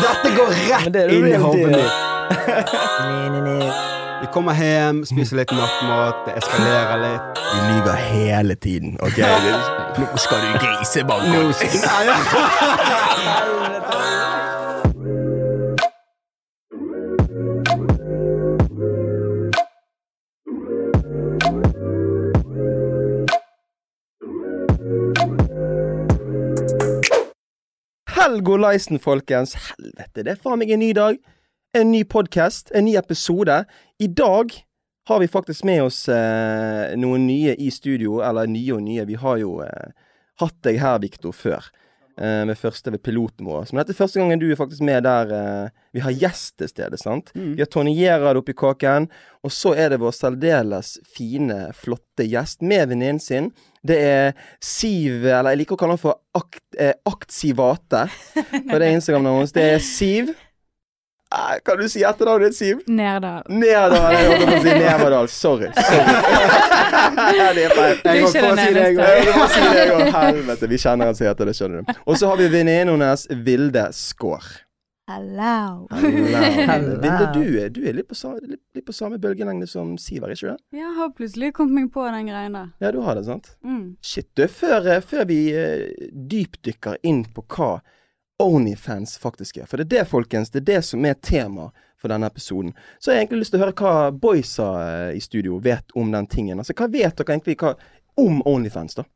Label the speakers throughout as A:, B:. A: Dette går
B: Men
A: rett
B: det er
A: inn i
B: real
A: hodet
B: deal.
A: ditt. Vi kommer hjem, spiser litt nattmat, det eskalerer litt.
C: Du lyver hele tiden. Ok, Nå skal du grise
A: Nå skal- Ja, ja.
C: Helgolaisen, folkens. Helvete, det er faen meg en ny dag. En ny podkast, en ny episode. I dag har vi faktisk med oss eh, noen nye i studio. Eller nye og nye. Vi har jo eh, hatt deg her, Viktor, før. Eh, med første ved piloten vår. Men dette er første gangen du er faktisk med der eh, vi har gjest til stede. sant? Vi har Tonje Gerhard oppi kaken. Og så er det vår særdeles fine, flotte gjest med venninnen sin. Det er Siv, eller jeg liker å kalle henne for akt, eh, Aktsivate. For det er Instagram-navnet hennes. Det er Siv. Eh, kan du si etternavnet ditt, Siv?
D: Nerdal.
C: Neverdal. Jeg holdt på å si Neverdal. Sorry. sorry. det er feil.
D: er
C: Jeg må få
D: ikke den
C: si det, jeg
D: eneste.
C: også. Jeg må si det, jeg også. Helvete. Vi kjenner han som heter det, skjønner du. Og så har vi venninnen hennes, Vilde Skaar.
D: Hello.
B: Hello.
C: Vilde, du er, du er litt, på, sa- litt, litt på samme bølgelengde som Siv, er ikke du det?
D: Jeg har plutselig kommet meg på den greien der.
C: Ja, du har det, sant?
D: Mm.
C: Shit, du, før, eh, før vi eh, dypdykker inn på hva Onlyfans faktisk er, for det er det, folkens, det er det som er tema for denne episoden, så har jeg egentlig lyst til å høre hva boysa eh, i studio vet om den tingen. Altså, hva vet dere egentlig hva, om Onlyfans, da?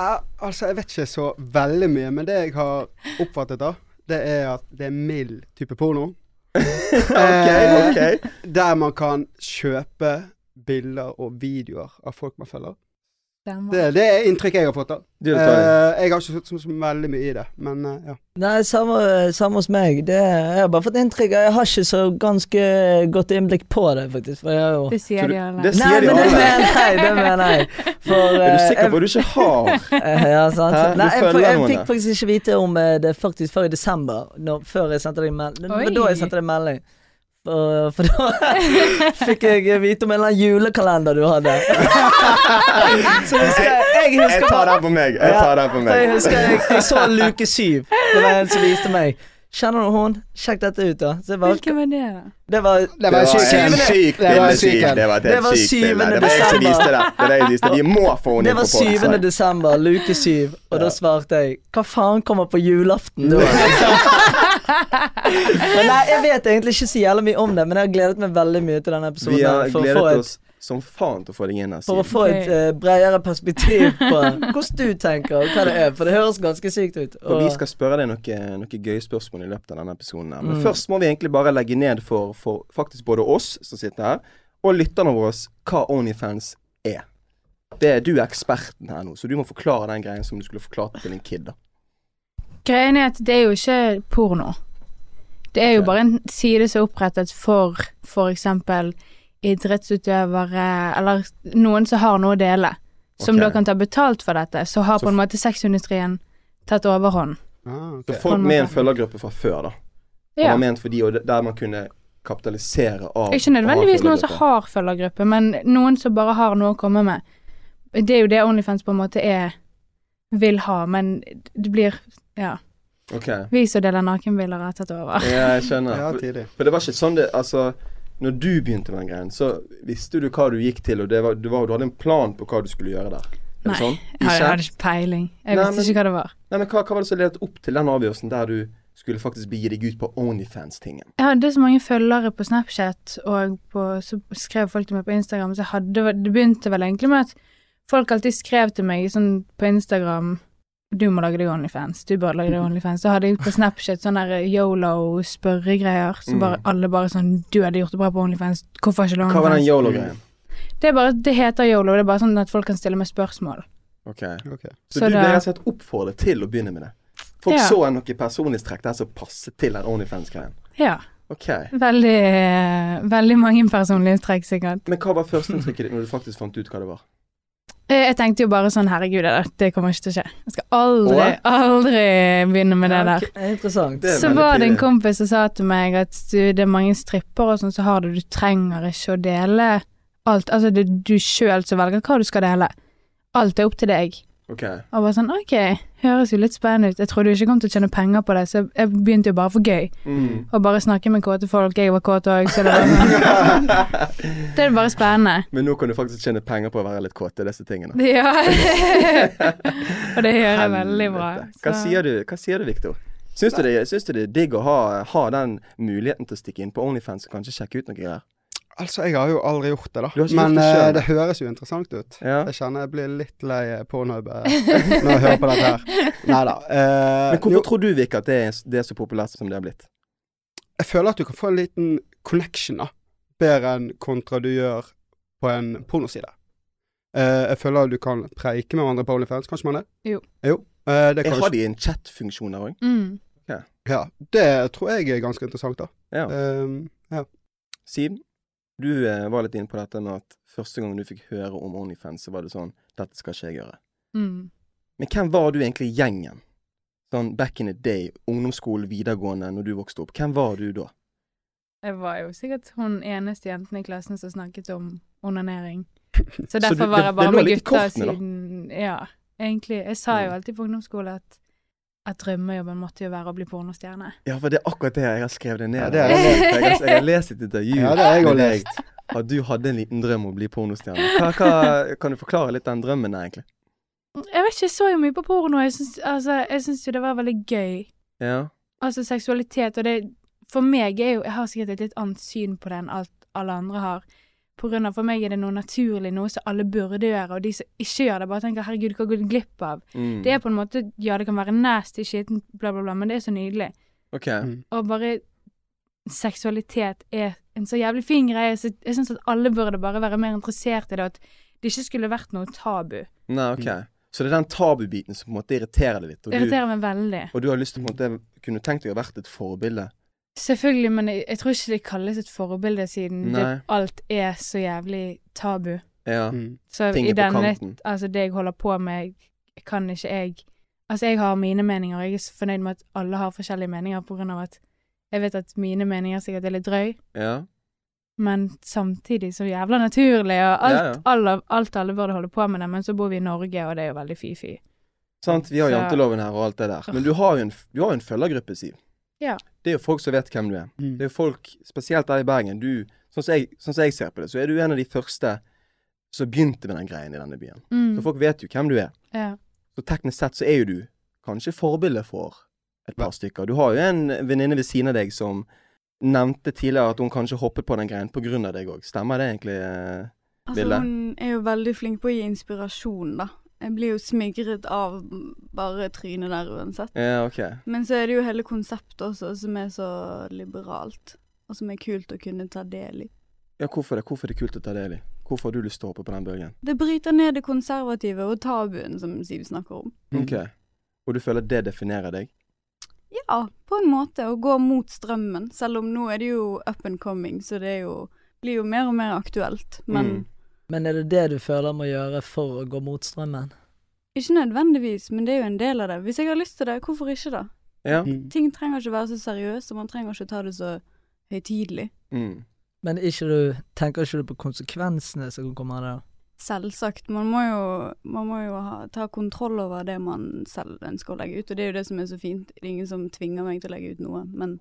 A: Ja, altså, jeg vet ikke så veldig mye, men det jeg har oppfattet, da, det er at det er mild type porno. Eh,
C: Ah, Ok, ok.
A: Der man kan kjøpe bilder og videoer av folk man følger. Det, det er inntrykk jeg har fått, da.
C: Du, det tar jeg.
A: Eh, jeg har ikke sett så, så veldig mye i det, men eh, ja.
B: Nei, samme, samme hos meg. Det, jeg har bare fått inntrykk av Jeg har ikke så ganske godt innblikk på det, faktisk. For jeg har jo
D: Det
C: Så
D: sier
C: du-
D: de alle.
C: det
B: Nei,
C: sier de
B: men det
C: alle.
B: mener jeg! Det mener jeg. For
C: Er du
B: eh,
C: sikker
B: jeg-
C: på at du ikke har
B: Eh, Ja, sant.
C: Hæ? Du
B: Nei, jeg,
C: følger
B: jeg,
C: noen
B: fikk
C: der?
B: faktisk ikke vite om eh, det faktisk før i desember, når, før jeg sendte deg melding. Det
D: Oi.
B: var da jeg sendte deg melding. For, for da fikk jeg vite om en eller annen julekalender du hadde. Så husker jeg, jeg husker bare
C: den på meg. den på
B: for jeg husker jeg, jeg så luke syv. Det var en som viste meg. Kjenner du hun? Sjekk dette ut, da. Så jeg bare,
D: Hvilken var det, da?
B: det var
A: Det var en syk en. Det var en syk en.
C: var et
B: Det var
C: sykt bilde. som
B: syvende desember.
C: det. Det var jeg som viste det. Vi må få
B: det var
C: altså.
B: 7. desember, luke 7, og da svarte jeg Hva faen kommer på julaften da? men nei, jeg vet egentlig ikke så jævlig mye om det, men jeg har gledet meg veldig mye til denne episoden.
C: Vi har
B: her, for, å få
C: gledet
B: et,
C: oss som faen til å få deg inn her,
B: for å
C: Siv.
B: få et eh, bredere perspektiv på hvordan du tenker, og hva det er, for det høres ganske sykt ut.
C: For
B: og-
C: vi skal spørre deg noen noe gøye spørsmål i løpet av denne episoden. her. Men
B: Mm.
C: først må vi egentlig bare legge ned for, for faktisk både oss som sitter her, og lytterne våre, hva Onlyfans er. Det er du er eksperten her nå, så du må forklare den greien som du skulle forklart til en kid. da.
D: Greien er at det er jo ikke porno. Det er jo bare en side som er opprettet for f.eks. idrettsutøvere, eller noen som har noe å dele, som
C: Ok.
D: da kan ta betalt for dette. Så har
C: Så
D: på en måte sexindustrien tatt overhånd.
A: Ah, ok.
C: Så folk
D: en
C: med en
D: måte.
C: følgergruppe fra før, da. Det
D: Ja.
C: var ment for de, og der man kunne kapitalisere av
D: Ikke nødvendigvis altså noen som har følgergruppe, men noen som bare har noe å komme med. Det er jo det Onlyfans på en måte er vil ha, men det blir ja,
C: Ok,
D: vi som deler nakenbilder, har tatt over.
C: ja, jeg skjønner.
A: Ja,
C: For,
A: tidlig.
C: for det var ikke sånn det Altså, når du begynte med den greien, så visste du hva du gikk til, og det var, du, var, du hadde en plan på hva du skulle gjøre der. Er det
D: Nei,
C: sånn?
D: Jeg hadde- jeg hadde
C: Ikke?
D: ikke peiling. Jeg
C: Nei,
D: visste
C: men-
D: ikke hva det var.
C: Nei, men hva, hva var det som ledet opp til den avgjørelsen der du skulle faktisk begi deg ut på Onlyfans-tingen?
D: Jeg hadde så mange følgere på Snapchat, og på, så skrev folk til meg på Instagram. Så jeg hadde, det begynte vel egentlig med at folk alltid skrev til meg sånn på Instagram Du må lage deg Onlyfans. Du bør lage deg Onlyfans. Så hadde jeg på Snapchat sånne der yolo-spørregreier. Så bare, alle bare sånn Du hadde gjort det bra på Onlyfans. Hvorfor har ikke du
C: Mm. Hva var den
D: Onlyfans?
C: yolo-greien?
D: Det, er bare, det heter yolo. Det er bare sånn at folk kan stille meg spørsmål.
A: Mm.
C: Ok.
A: Ok.
C: Så,
D: Så
C: du
D: da-
C: ble rett og slett oppfordret til å begynne med det? Folk
D: Ja.
C: så noe personlighetstrekk der som passet til den Onlyfans-greien.
D: Ja.
C: Ok.
D: Veldig, eh, veldig mange personlighetstrekk, sikkert.
C: Men hva var førsteinntrykket ditt når du faktisk fant ut hva det var?
D: Eh, Jeg tenkte jo bare sånn Herregud, det, der, det kommer ikke til å skje. Jeg skal aldri,
C: Åh?
D: aldri begynne med det
B: Ja,
D: der.
B: ok, Interessant.
C: Det er
D: Så
C: veldig
D: var det en
C: tidlig.
D: kompis som sa til meg at du, det er mange stripper og sånn som så har det, du trenger ikke å dele alt. Altså det er du sjøl som velger hva du skal dele. Alt er opp til deg.
C: Ok.
D: Og bare sånn OK, høres jo litt spennende ut. Jeg trodde jo ikke jeg kom til å tjene penger på det, så jeg- jeg begynte jo bare for gøy.
C: Mm.
D: Å bare snakke med kåte folk. Jeg var kåt òg, så det var sånn Det er bare spennende.
C: Men nå kan du faktisk tjene penger på å være litt kåt i disse tingene.
D: Ja. og det gjør jeg veldig bra.
C: Helvete. Hva sier du, hva sier du Victor? Syns du, det, syns du det er digg å ha, ha den muligheten til å stikke inn på Onlyfans og kanskje sjekke ut noe greier?
A: Altså, jeg har jo aldri gjort det, da.
C: Du har ikke gjort
A: Men
C: det selv?
A: eh, det høres jo interessant ut.
C: Ja.
A: Jeg kjenner jeg blir litt lei pornhub eh, når jeg hører på dette her. Nei da. Eh,
C: Men hvorfor
A: jo,
C: tror du, Vik, at det er, det er så populært som det har blitt?
A: jeg føler at du kan få en liten connection, da. Bedre enn kontra du gjør på en pornoside. Eh, jeg føler at du kan preike med hverandre på OnlyFans, kanskje man det?
D: Jo.
A: Jo. Eh, det,
C: Jeg
A: kan
C: har de en chat-funksjon der òg.
D: Mm.
A: ja, det tror jeg er ganske interessant, da.
C: Ja.
A: Eh, ja.
C: Siv, du eh, var litt inne på dette med at første gang du fikk høre om Onlyfans, så var det sånn Dette skal ikke jeg gjøre.
D: Mm.
C: Men hvem var du egentlig i gjengen? Sånn back in the day, ungdomsskolen, videregående, når du vokste opp. Hvem var du da?
D: Jeg var jo sikkert hun eneste jenten i klassen som snakket om onanering. Så
C: du-
D: derfor var
C: det-
D: jeg
C: det
D: bare
C: lå
D: med
C: litt i
D: gutter
C: kortene, da?
D: siden Ja, egentlig. Jeg sa jo
C: Mm.
D: alltid på ungdomsskole at at drømmejobben måtte jo være å bli pornostjerne.
C: Ja, for det er akkurat det jeg har skrevet det ned.
A: Ja, det er
C: Jeg har
D: det.
C: lest- Jeg, har- jeg har lest et intervju
A: ja, det har jeg òg
C: med deg.
A: lest.
C: At du hadde en liten drøm om å bli pornostjerne. Hva, hva, kan du forklare litt den drømmen, der, egentlig?
D: Jeg vet ikke, jeg så jo mye på porno. Jeg syns altså, jeg syns jo det var veldig gøy.
C: Ja.
D: Altså seksualitet, og det For meg er jo Jeg har sikkert et litt annet syn på det enn alt alle andre har. På grunn av For meg er det noe naturlig, noe som alle burde gjøre, og de som ikke gjør det, bare tenker 'herregud, hva går du glipp av'?
C: Mm.
D: Det er på en måte Ja, det kan være nasty, skittent, bla, bla, bla, men det er så nydelig.
C: Ok.
A: Mm.
D: Og bare Seksualitet er en så jævlig fin greie. Så jeg syns at alle burde bare være mer interessert i det, at det ikke skulle vært noe tabu.
C: Nei, ok. Så det er den tabubiten som på en måte irriterer deg litt.
D: Det
C: Og du,
D: irriterer meg veldig.
C: og du har lyst til på en måte kunne tenkt deg å ha vært et forbilde.
D: Selvfølgelig, men jeg, jeg tror ikke det kalles et forbilde, siden
C: Nei.
D: det, alt er så jævlig tabu.
C: Ja.
A: Mm.
D: Så
C: Ting
D: i
C: er på
D: denne,
C: kanten.
D: altså det jeg holder på med, kan ikke jeg Altså, jeg har mine meninger, og jeg er så fornøyd med at alle har forskjellige meninger, på grunn av at jeg vet at mine meninger sikkert er litt drøy,
C: ja.
D: men samtidig så jævla naturlig, og alt,
C: Ja, ja.
D: Alle, alt alle burde holde på med det, men så bor vi i Norge, og det er jo veldig fy-fy.
C: Sant, vi har
D: Så-
C: janteloven her og alt det der. Men du har jo en, du har jo en følgergruppe, Siv.
D: Ja.
C: Det er jo folk som vet hvem du er.
A: Mm.
C: Det er jo folk, spesielt der i Bergen. Du, sånn som jeg, sånn som jeg ser på det, så er du en av de første som begynte med den greien i denne byen. Så
D: Mm,
C: folk vet jo hvem du er.
D: ja.
C: Så teknisk sett så er jo du kanskje forbilde for et par stykker. Du har jo en venninne ved siden av deg som nevnte tidligere at hun kanskje hoppet på den greien på grunn av deg òg. Stemmer det egentlig? eh?
E: Altså,
C: Ville?
E: hun er jo veldig flink på å gi inspirasjon, da. Jeg blir jo smigret av bare trynet der uansett.
C: Ja, ok.
E: Men så er det jo hele konseptet også, som er så liberalt. Og som er kult å kunne ta del i.
C: Ja, hvorfor det? Hvorfor er det kult å ta del i? Hvorfor har du lyst til å hoppe på den bølgen?
E: Det bryter ned det konservative og tabuen som Siv snakker om.
A: Mm.
C: Ok. Og du føler det definerer deg?
E: Ja, på en måte. Å gå mot strømmen. Selv om nå er det jo up and coming, så det er jo, blir jo mer og mer aktuelt. Men
C: Mm.
B: Men er det det du føler må gjøre for å gå mot strømmen?
E: ikke nødvendigvis, men det er jo en del av det. Hvis jeg har lyst til det, hvorfor ikke da?
C: Ja.
A: Mm.
E: Ting trenger ikke være så seriøst, og man trenger ikke ta det så høytidelig.
C: Mm.
B: Men ikke du, tenker ikke du på konsekvensene som kommer av det? da?
E: Selvsagt. Man må jo, man må jo ha, ta kontroll over det man selv ønsker å legge ut, og det er jo det som er så fint. Det er ingen som tvinger meg til å legge ut noe, men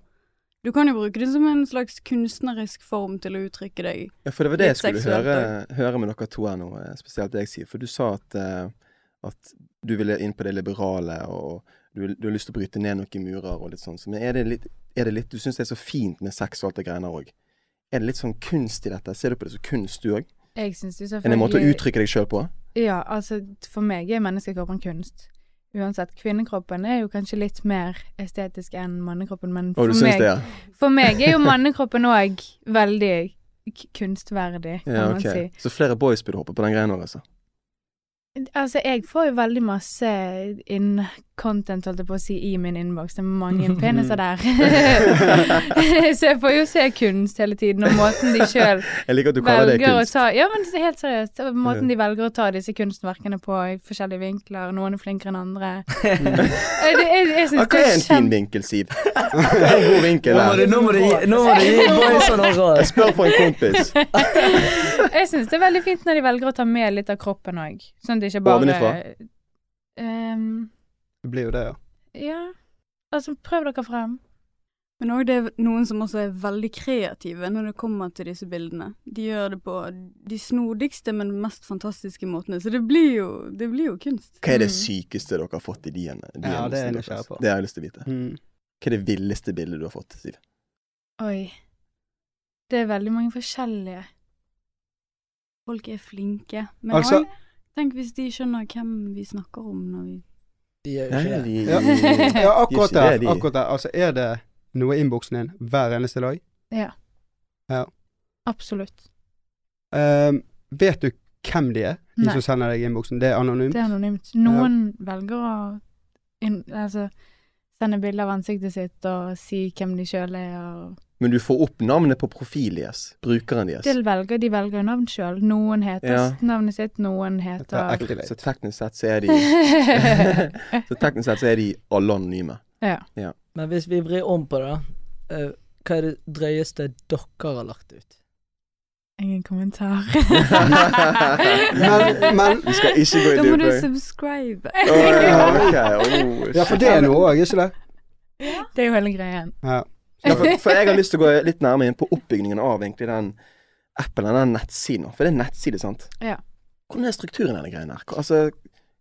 E: du kan jo bruke det som en slags kunstnerisk form til å uttrykke deg.
C: ja, for det var det jeg
E: Litt
C: skulle
E: seksuelt
C: høre, høre med dere to her nå, eh, spesielt deg, Siv. For du sa at, eh, at du ville inn på det liberale, og du, du har lyst til å bryte ned noen murer og litt sånn. Så, Men er det litt, er det litt Du syns det er så fint med sex og alt det greiene òg. Er det litt sånn kunst i dette? Ser du på det som kunst, du òg?
D: Jeg syns jo
C: En måte å
D: selvfølgelig
C: uttrykke deg sjøl på?
D: Ja, altså for meg er menneskekroppen kunst. Uansett, kvinnekroppen er jo kanskje litt mer estetisk enn mannekroppen, men
C: Og
D: for
C: du syns
D: meg,
C: det, ja?
D: for meg er jo mannekroppen òg veldig k- kunstverdig, kan
C: ja
D: man
C: ok.
D: si.
C: Så flere boys burde hoppe på den greien òg, altså?
D: Altså, jeg får jo veldig masse in content, holdt jeg på å si, i min innboks. Det er mange peniser der. så jeg får jo se kunst hele tiden, og måten de sjøl
C: Jeg liker at du kaller det
D: velger å
C: kunst.
D: ta Ja, men helt seriøst. og Måten de velger å ta disse kunstverkene på i forskjellige vinkler. Noen er flinkere enn andre.
C: Mm.
D: Eh, det- Jeg, jeg
C: Ah,
D: syns
C: hva
D: det
C: er en
D: er
C: fin
D: kjempe...
C: vinkel, Siv? Hva er en god vinkel
B: Nå må
C: der?
B: du, nå må du, gi- nå må du gi boysa noe råd.
C: Jeg spør for en kompis.
D: Jeg synes det er veldig fint når de velger å ta med litt av kroppen òg. Sånn at det ikke bare
C: Ovenifra?
D: Ehm,
A: Det blir jo det, ja.
D: ja. Altså, prøv dere frem.
E: Men òg det er noen som også er veldig kreative når det kommer til disse bildene. De gjør det på de snodigste, men mest fantastiske måtene. Så det blir jo, det blir jo kunst.
C: Hva er det
D: Mm.
C: sykeste dere har fått i de ene? de
A: Ja, det er jeg
C: hendelsene
A: nysgjerrig
C: deres?
A: på.
C: Det har jeg lyst til å vite.
A: Mm.
C: Hva er det villeste bildet du har fått, Siv?
D: Oi. Det er veldig mange forskjellige.
E: Folk er flinke. Men
A: Altså-
E: også, tenk hvis de skjønner hvem vi snakker om når vi
B: De gjør jo ikke det.
A: Ja. ja, akkurat
C: Ikke det,
A: der.
C: de.
A: Akkurat der. Altså, er det noe i innboksen din hver eneste dag?
D: Absolutt.
A: Ehm, vet du hvem de er, de
D: Nei.
A: som sender deg innboksen? Det er anonymt?
D: Det er anonymt. Noen velger å inn- altså, sende bilder av ansiktet sitt og si hvem de sjøl er. Og
C: Men du får opp navnet på profilen deres, brukeren deres.
D: de, velger, de velger jo navn sjøl. Noen heter
C: Ja.
D: navnet sitt, noen
A: Dette er
D: heter
A: ekte liv.
C: Så teknisk sett så er de Så teknisk sett så er de alle anonyme.
B: Men hvis vi vrir om på det, da. eh, hva er det drøyeste dere har lagt ut?
D: Ingen kommentar.
A: Men, men
C: Vi skal ikke gå i
E: Da må du
C: dybden.
E: subscribe.
C: Åh, ok, åh,
A: Ja, for det er noe òg, ikke det?
D: Det er jo hele greien.
A: Ja.
C: Ja, for, for jeg har lyst til å gå litt nærmere inn på oppbyggingen av egentlig den appen, eller den nettsiden. For det er en nettside, sant?
D: Ja.
C: Hvordan er strukturen i denne greien her? Altså,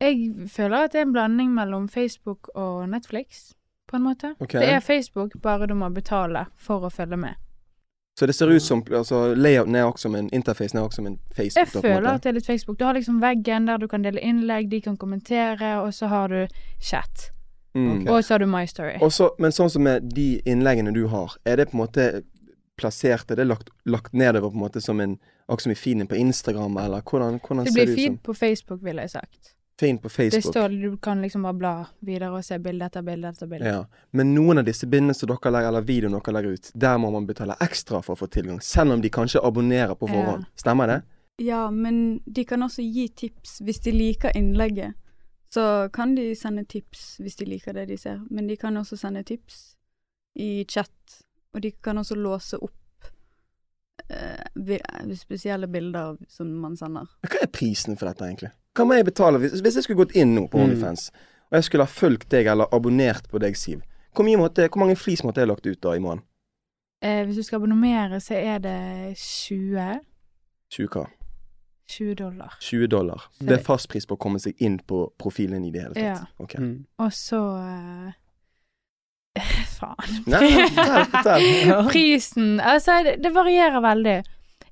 D: Jeg føler at det er en blanding mellom Facebook og Netflix, på en måte.
C: ok.
D: Det er Facebook, bare du må betale for å følge med.
C: Så det ser ut som altså, layouten er også som en interface, er også som en Facebook.
D: Jeg
C: da, på en
D: føler
C: måte.
D: at det er litt Facebook. Du har liksom veggen der du kan dele innlegg, de kan kommentere, og så har du chat.
C: Mm.
A: Ok.
D: Og så har du My Story.
C: Og så- men sånn som med de innleggene du har, er det på en måte plassert, er det lagt, lagt nedover på en måte som en Akkurat som i feeden på Instagram, eller hvordan, hvordan
D: Det
C: ser
D: blir
C: det ut som?
D: feed på Facebook, ville jeg sagt.
C: Feed på Facebook.
D: Det står, Du kan liksom bare bla videre og se bilde etter bilde etter bilde.
C: Ja. Men noen av disse bindene som dere legger, eller videoene dere legger ut, der må man betale ekstra for å få tilgang, selv om de kanskje abonnerer på forhånd. Stemmer det?
E: Ja, men de kan også gi tips hvis de liker innlegget. Så kan de sende tips hvis de liker det de ser, men de kan også sende tips i chat. Og de kan også låse opp eh, vi- eh, spesielle bilder som man sender.
C: Hva er prisen for dette, egentlig? Hva må jeg betale hvis, hvis jeg skulle gått inn nå på
A: Mm.
C: OnlyFans, og jeg skulle ha fulgt deg eller abonnert på deg, Siv? Hvor, mye måtte, hvor mange flis måtte jeg lagt ut da i måneden?
D: Eh, hvis du skal abonnere, så er det 20
C: 20K.
D: 20 dollar.
C: 20 dollar. Det er fastpris på å komme seg inn på profilen i det hele
D: Ja.
C: tatt. Ok.
A: Mm.
D: Og så eh, Faen.
C: Nei, nei, fortell, fortell.
D: Prisen Altså, det, det varierer veldig.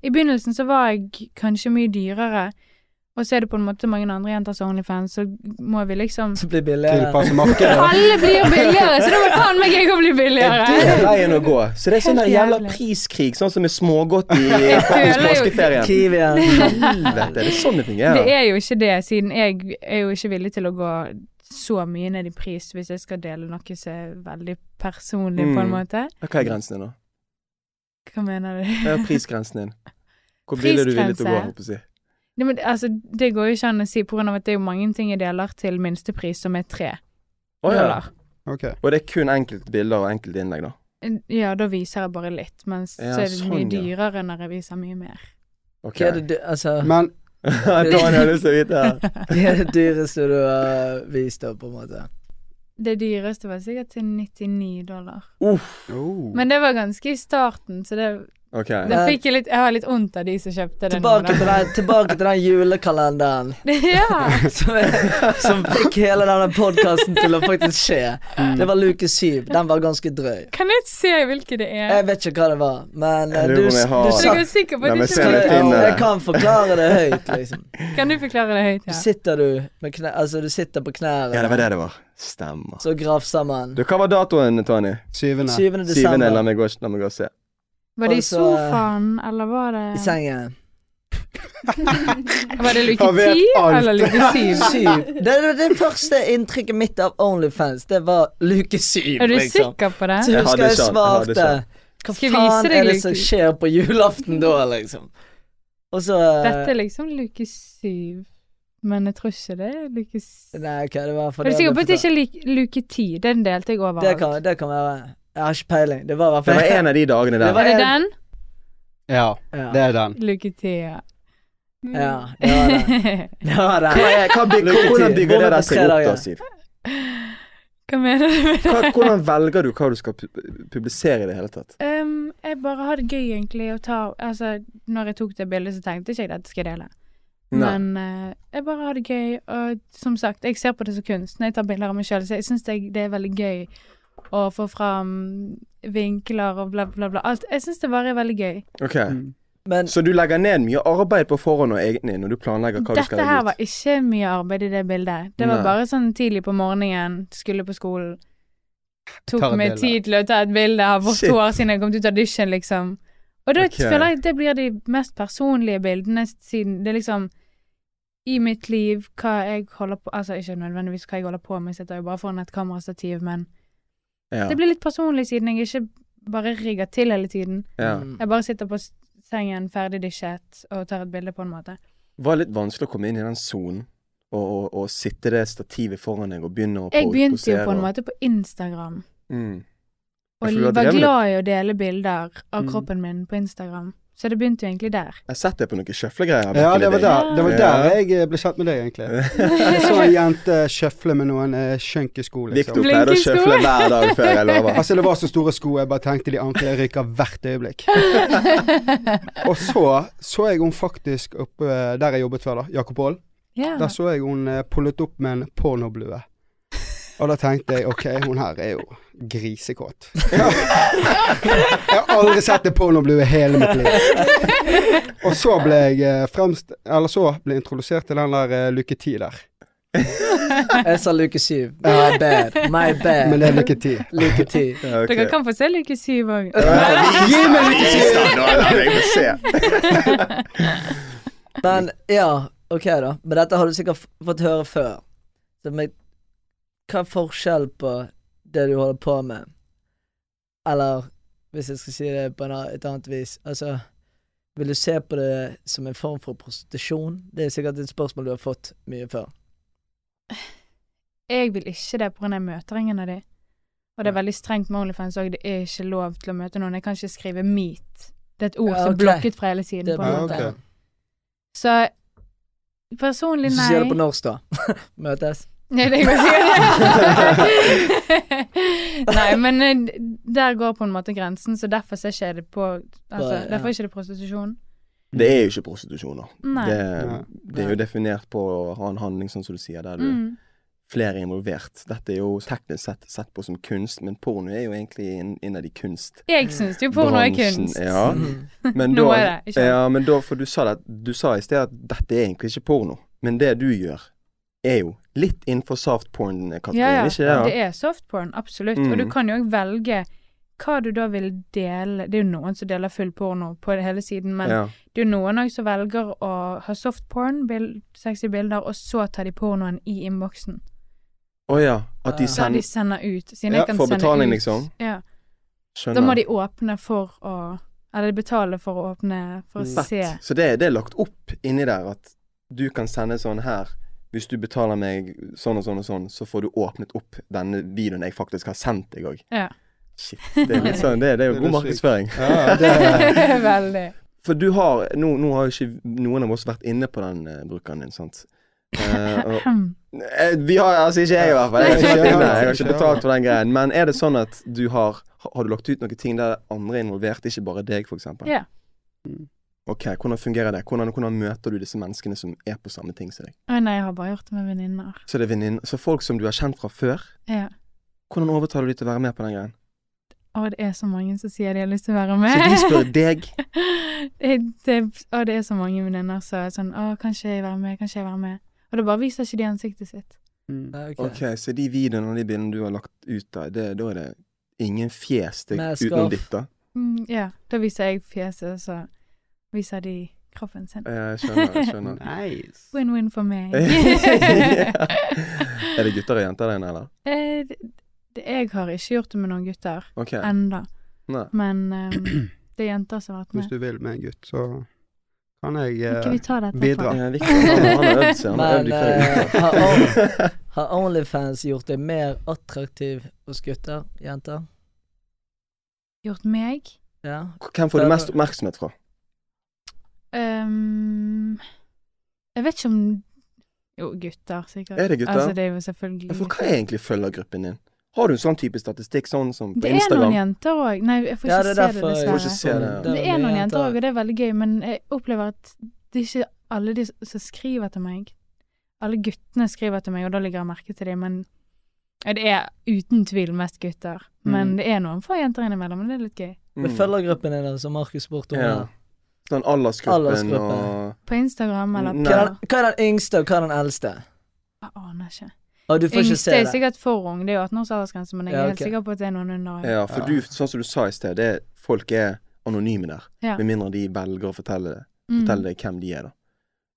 D: I begynnelsen så var jeg kanskje mye dyrere, og så er det på en måte mange andre jenter som har Onlyfans, så må vi liksom
B: Som blir billigere.
A: Tilpasse markedet.
D: Alle blir billigere, så da må faen meg jeg òg bli
C: Er
D: billigere!
C: det veien å gå? Så det er sånn
D: Helt
C: der jævla
D: jævlig.
C: priskrig, sånn som med smågodt i
D: Jeg føler jo-
C: påskeferien?
B: Kiwien.
C: Helvete, det er sånn det
D: Det
C: fungerer.
D: er jo ikke det, siden jeg er jo ikke villig til å gå så mye ned i pris hvis jeg skal dele noe som er veldig personlig, på en
C: Mm.
D: måte.
C: Hva er grensen din, da?
D: Hva mener du?
C: Hva er prisgrensen din? Hvor billig er du villig til å gå?
D: Prisgrense?
C: Håper jeg. å si?
D: Nei, men, altså, det går jo ikke an å si, på grunn av at det er jo mange ting jeg deler til minstepris, som er tre
C: Å ja.
D: dollar.
A: Ok.
C: Og det er kun enkelte bilder og enkelte innlegg, da.
D: Ja, da viser jeg bare litt, mens
C: Ja,
D: så er det mye
C: sånn, ja.
D: dyrere når jeg viser mye mer.
C: Ok.
B: Hva er det, dy- altså,
A: Men
C: Daniel har lyst til å vite det.
B: hva er det dyreste du har vist, da, på en måte?
D: Det dyreste var sikkert til 99 dollar.
C: Uff.
A: oh.
D: Men det var ganske i starten, så det,
C: Ok.
D: det fikk jeg litt Jeg har litt vondt av de som kjøpte det nå,
B: Tilbake til, den, tilbake til den julekalenderen
D: da. ja.
B: som, som fikk hele denne podkasten til å faktisk skje. Det var luke syv. Den var ganske drøy.
D: Kan jeg se hvilke det er?
B: Jeg vet ikke hva det var, men eh,
C: Jeg lurer
B: du,
C: på om jeg har-
B: du
D: Så jeg
B: satt
D: er sikker på
C: Nei,
D: at
C: men se
D: du ikke
B: Skal jeg,
C: det finne-
B: jeg kan forklare det høyt, liksom.
D: Kan du forklare det høyt? Ja?
B: Sitter du med knæ... Altså, du sitter på
C: Ja, det
B: knærne,
C: var det det var. Stemmer.
B: så grafser man.
C: Du, hva var datoen, Tony?
A: Syvende.
B: 7.
C: Syvende. La
B: desember
C: meg gå, la meg gå og se.
D: Var det i
B: Altså,
D: sofaen, eller var
B: i
D: det
B: sengen.
D: Var det luke
A: Han vet
D: 10
A: alt.
D: eller luke 7?
B: Syv. Det, det, det første inntrykket mitt av Onlyfans, det var luke syv,
D: Er du
B: liksom.
D: sikker på det?
B: Så
C: Jeg
B: husker
C: hadde
B: jeg
C: ikke han, jeg hadde
B: svarte
C: ikke
B: Hva
D: Skal jeg vise
B: faen
D: deg
B: er det
D: litt?
B: som skjer på julaften da, liksom? Og så eh,
D: Dette er liksom luke 7, men jeg tror ikke det er luke 7.
B: Nei, ok, det var for
D: Er du sikker på
B: ble
D: at det
B: fortalt.
D: ikke er lik- luke 10? Den delte jeg
B: det kan,
D: overalt.
B: det kan være Jeg har ikke peiling. Det var i hvert
C: Det
B: fall
C: var en av de dagene
B: Det
C: der.
B: var
D: Var det
B: en-
D: den?
A: Ja,
B: Ja.
A: det er den.
D: Luke 10, ja. Mm.
B: Ja, det var det. det, var det.
C: Hva er, hva bygger,
B: Lykke til.
C: hvordan bygger det
B: Gå med
C: der
B: på
C: seg
B: tre
C: opp, da,
B: dager.
C: Siv?
D: Hva mener du med det?
C: Hva, hvordan velger du hva du skal pu- publisere i det hele tatt?
D: Ehm, jeg bare har det gøy, egentlig. Å ta, altså, når jeg tok det bildet, så tenkte ikke jeg dette skal jeg dele.
C: Nei.
D: Men eh, jeg bare har det gøy, og som sagt, jeg ser på det som kunst når jeg tar bilder av meg sjøl, så jeg syns det, det er veldig gøy å få fram vinkler og bla, bla, bla. Alt. Jeg syns det bare er veldig gøy.
C: Ok.
A: Mm.
B: Men
C: Så du legger ned mye arbeid på forhånd og egentlig når du planlegger hva du skal
D: Dette her
C: legge
D: var
C: ut?
D: ikke mye arbeid i det bildet. Det var
C: Nei.
D: bare sånn tidlig på morgenen, skulle på skolen.
A: Tar
D: Tok
A: et
D: meg
A: bilde.
D: tid til å ta et bilde, har vårt
C: Shit.
D: hår siden jeg kom ut av dusjen, liksom. Og da
C: Ok.
D: føler jeg at det blir de mest personlige bildene, siden det er liksom i mitt liv, hva jeg holder på Altså ikke nødvendigvis hva jeg holder på med, jeg sitter jo bare foran et kamerastativ, men
C: Ja,
D: det blir litt personlig siden jeg ikke bare rigger til hele tiden.
C: ja.
B: Mm.
D: Jeg bare sitter på s- sengen, ferdig dusjet, og tar et bilde på en måte.
C: Var det litt vanskelig å komme inn i den sonen og, og, og sitte det stativet foran deg og begynne å
D: Jeg
C: po-
D: begynte jo
C: posere
D: på en
C: og-
D: måte på Instagram.
C: Mm.
D: Og
C: For du har
D: var
C: drevet-
D: glad i å dele bilder av
A: Mm.
D: kroppen min på Instagram. Så det begynte jo egentlig der.
C: Jeg har sett deg på noen sjøflegreier.
A: Ja, det var der, det var der
C: Ja.
A: jeg eh, ble kjent med deg, egentlig. Jeg så en jente sjøfle med noen eh, skjønke sko,
C: Victor
A: liksom.
D: Blinke
C: pleide å
D: sko.
C: sjøfle hver dag før, jeg lover.
A: Altså, det var så store sko, jeg bare tenkte de anklene ryker hvert øyeblikk. Og så så jeg hun faktisk oppe eh, der jeg jobbet før, da. Jakob Aall.
D: Ja.
A: Der så jeg hun eh, pullet opp med en pornoblue. Og da tenkte jeg ok, hun her er jo grisekåt. jeg har aldri sett en pornoblue i hele mitt liv. Og så ble jeg eh, fremst, eller så ble jeg introdusert til den der eh, Lykke 10 der.
B: Jeg sa luke syv. My bad. My
A: Men
B: bad.
A: det er Lykke 10.
B: Luke ti.
C: Ja, ok.
D: Dere kan få se Lykke syv òg.
C: Gi meg litt tid! La meg få se.
B: Men ja, ok da. Men dette har du sikkert f- fått høre før. Så men, hva er forskjell på det du holder på med? Eller hvis jeg skal si det på en, a- et annet vis, altså Vil du se på det som en form for prostitusjon? Det er sikkert et spørsmål du har fått mye før.
D: Jeg vil ikke det pga. jeg møter ingen av de. Og det er veldig strengt med Onlyfans òg. Det er ikke lov til å møte noen. Jeg kan ikke skrive meat. Det er et ord
B: Ja,
D: som
B: ok.
D: er blokket fra hele siden.
B: Det er
D: på
B: på
A: Ja,
D: en
B: en
D: måte.
A: ok.
B: måte.
D: Så personlig,
B: Hvis du
D: nei.
B: sier det på norsk, da. Møtes.
D: Nei, det går ikke. Nei, men eh, der går på en måte grensen, så derfor ser ikke jeg det på altså,
B: Bare, ja.
D: Derfor er ikke det prostitusjon.
C: Det er jo ikke prostitusjon, da.
D: Nei.
C: Det,
A: Nei.
C: det er jo definert på å ha en handling, sånn som du sier, der du
D: Mm.
C: flere er involvert. Dette er jo teknisk sett sett på som kunst, men porno er jo egentlig en- innad i kunst.
D: Jeg syns jo porno er
C: Bransjen,
D: kunst.
C: Ja.
B: Mm.
C: Men
D: Nå
C: da,
D: er det, ikke sant?
C: Ja, men da, for du sa, det, du sa i sted at dette er egentlig ikke porno, men det du gjør, er jo litt innenfor soft
D: Ja,
C: porn-kategorien,
D: ja.
C: ikke det?
D: Det er softporn, absolutt.
C: Mm.
D: Og du kan jo også velge hva du da vil dele. Det er jo noen som deler full porno på hele siden, men
C: ja.
D: det er jo noen òg som velger å ha softporn, bil, sexy bilder, og så tar de pornoen i innboksen.
C: Å ja. At de
B: Ja.
D: Da de
C: sender
D: sender ut. Siden
A: Ja,
D: jeg kan
C: for
D: sende
C: betaling,
D: ut.
C: liksom.
D: Ja.
C: Skjønner.
D: Da må de åpne for å Eller de betaler for å åpne for å
C: Mm. Fett.
D: se.
C: Så det, det er lagt opp inni der at du kan sende sånn her Hvis du betaler meg sånn og sånn og sånn, så får du åpnet opp denne videoen jeg faktisk har sendt deg òg.
D: Ja.
C: Shit. Det er litt sånn, det, det er
A: Det
C: jo
A: er
C: god
A: litt sykt.
C: markedsføring.
A: Ja, det
D: Veldig.
C: For du har Nå, nå har jo ikke noen av oss vært inne på den eh, brukeren din, sant? Eh, og, Eh, vi har altså ikke jeg, i hvert fall. Jeg har ikke,
A: Nei,
C: vært
A: ikke jeg,
C: inne. jeg har
A: ikke
C: ikke
A: jeg.
C: betalt for den greien. Men er det sånn at du har Har du lagt ut noen ting der andre er involvert, ikke bare deg, f.eks.?
D: Ja.
C: Ok, Hvordan fungerer det? Hvordan, hvordan møter du disse menneskene som er på samme ting som deg?
D: Å nei, jeg har bare gjort det med venninner.
C: Så det er venninner Så folk som du har kjent fra før,
D: Ja.
C: hvordan overtaler du de til å være med på den greien?
D: Og det er så mange som sier de har lyst til å være
C: Så
D: med.
C: de spør deg
D: det, det, og det er så mange venninner som er sånn 'Å, kan ikke jeg være med? Kan ikke jeg være med?' Og da bare viser ikke de ansiktet sitt.
A: Mm.
C: Ok, så de videoene og de bildene du har lagt ut der, det, da er det ingen fjes til
B: Mask
C: utenom
B: off.
C: ditt, da?
D: Mm, ja. Da viser jeg fjeset, og så viser de kroppen sin.
C: Ja, Eh, Jeg skjønner. jeg skjønner
A: Nice.
D: Win-win for meg.
C: Ja. Er det gutter og jenter der inne, eller?
D: Eh, det, det, jeg har ikke gjort det med noen gutter
C: Ok.
D: enda,
C: Nei.
D: men ehm, det er jenter som har vært
A: Hvis
D: med.
A: du vil med en gutt, så kan jeg
D: Kan
A: eh,
D: ikke vi ta dette
A: bidra.
D: fra?
C: Ja, Victor, han, han har øvd seg. Han har øvd
B: Men
C: i flere
B: eh,
C: uker.
B: har, On- har Onlyfans gjort deg mer attraktiv hos gutter? Jenter?
D: Gjort meg?
B: Ja.
C: Hvem får du mest oppmerksomhet fra?
D: Ehm, Jeg vet ikke om Jo, gutter, sikkert.
C: Er det gutter?
D: Altså, det er jo selvfølgelig
C: Ja, For hva er egentlig følgergruppen din? Har du en sånn type statistikk sånn som på
D: Det er
C: Instagram?
D: noen jenter òg. Nei, jeg får
B: Ja,
D: ikke
B: det er
D: se det,
B: derfor
C: Får
D: dessverre.
C: ikke se det.
D: Men Det er noen jenter òg, og det er veldig gøy, men jeg opplever at det er ikke alle de som skriver til meg. Alle guttene skriver til meg, og da ligger jeg merke til dem, men ja, det er uten tvil mest gutter. Men
C: Mm.
D: det er noen få jenter innimellom, og det er litt gøy.
B: Men følgergruppen din, da, som Markus spurte om.
C: Ja.
B: her.
C: Sånn aldersgruppen,
B: Aldersgruppen.
C: og
D: På Instagram eller på
C: Nei.
B: Hva er, den- hva er den yngste, og hva er den eldste?
D: Jeg aner ikke.
B: Og du får ikke
D: Yngste
B: se
D: er
B: det.
D: sikkert for ung, det er jo 18 års aldersgrense, men jeg er
B: Ja,
D: helt
B: ok.
D: sikker på at det er noen under.
C: Ja, for du, sånn som du sa i sted, det er folk er anonyme der.
D: Ja.
C: Med mindre de velger å fortelle det.
D: Mm.
C: Fortell deg hvem de er, da.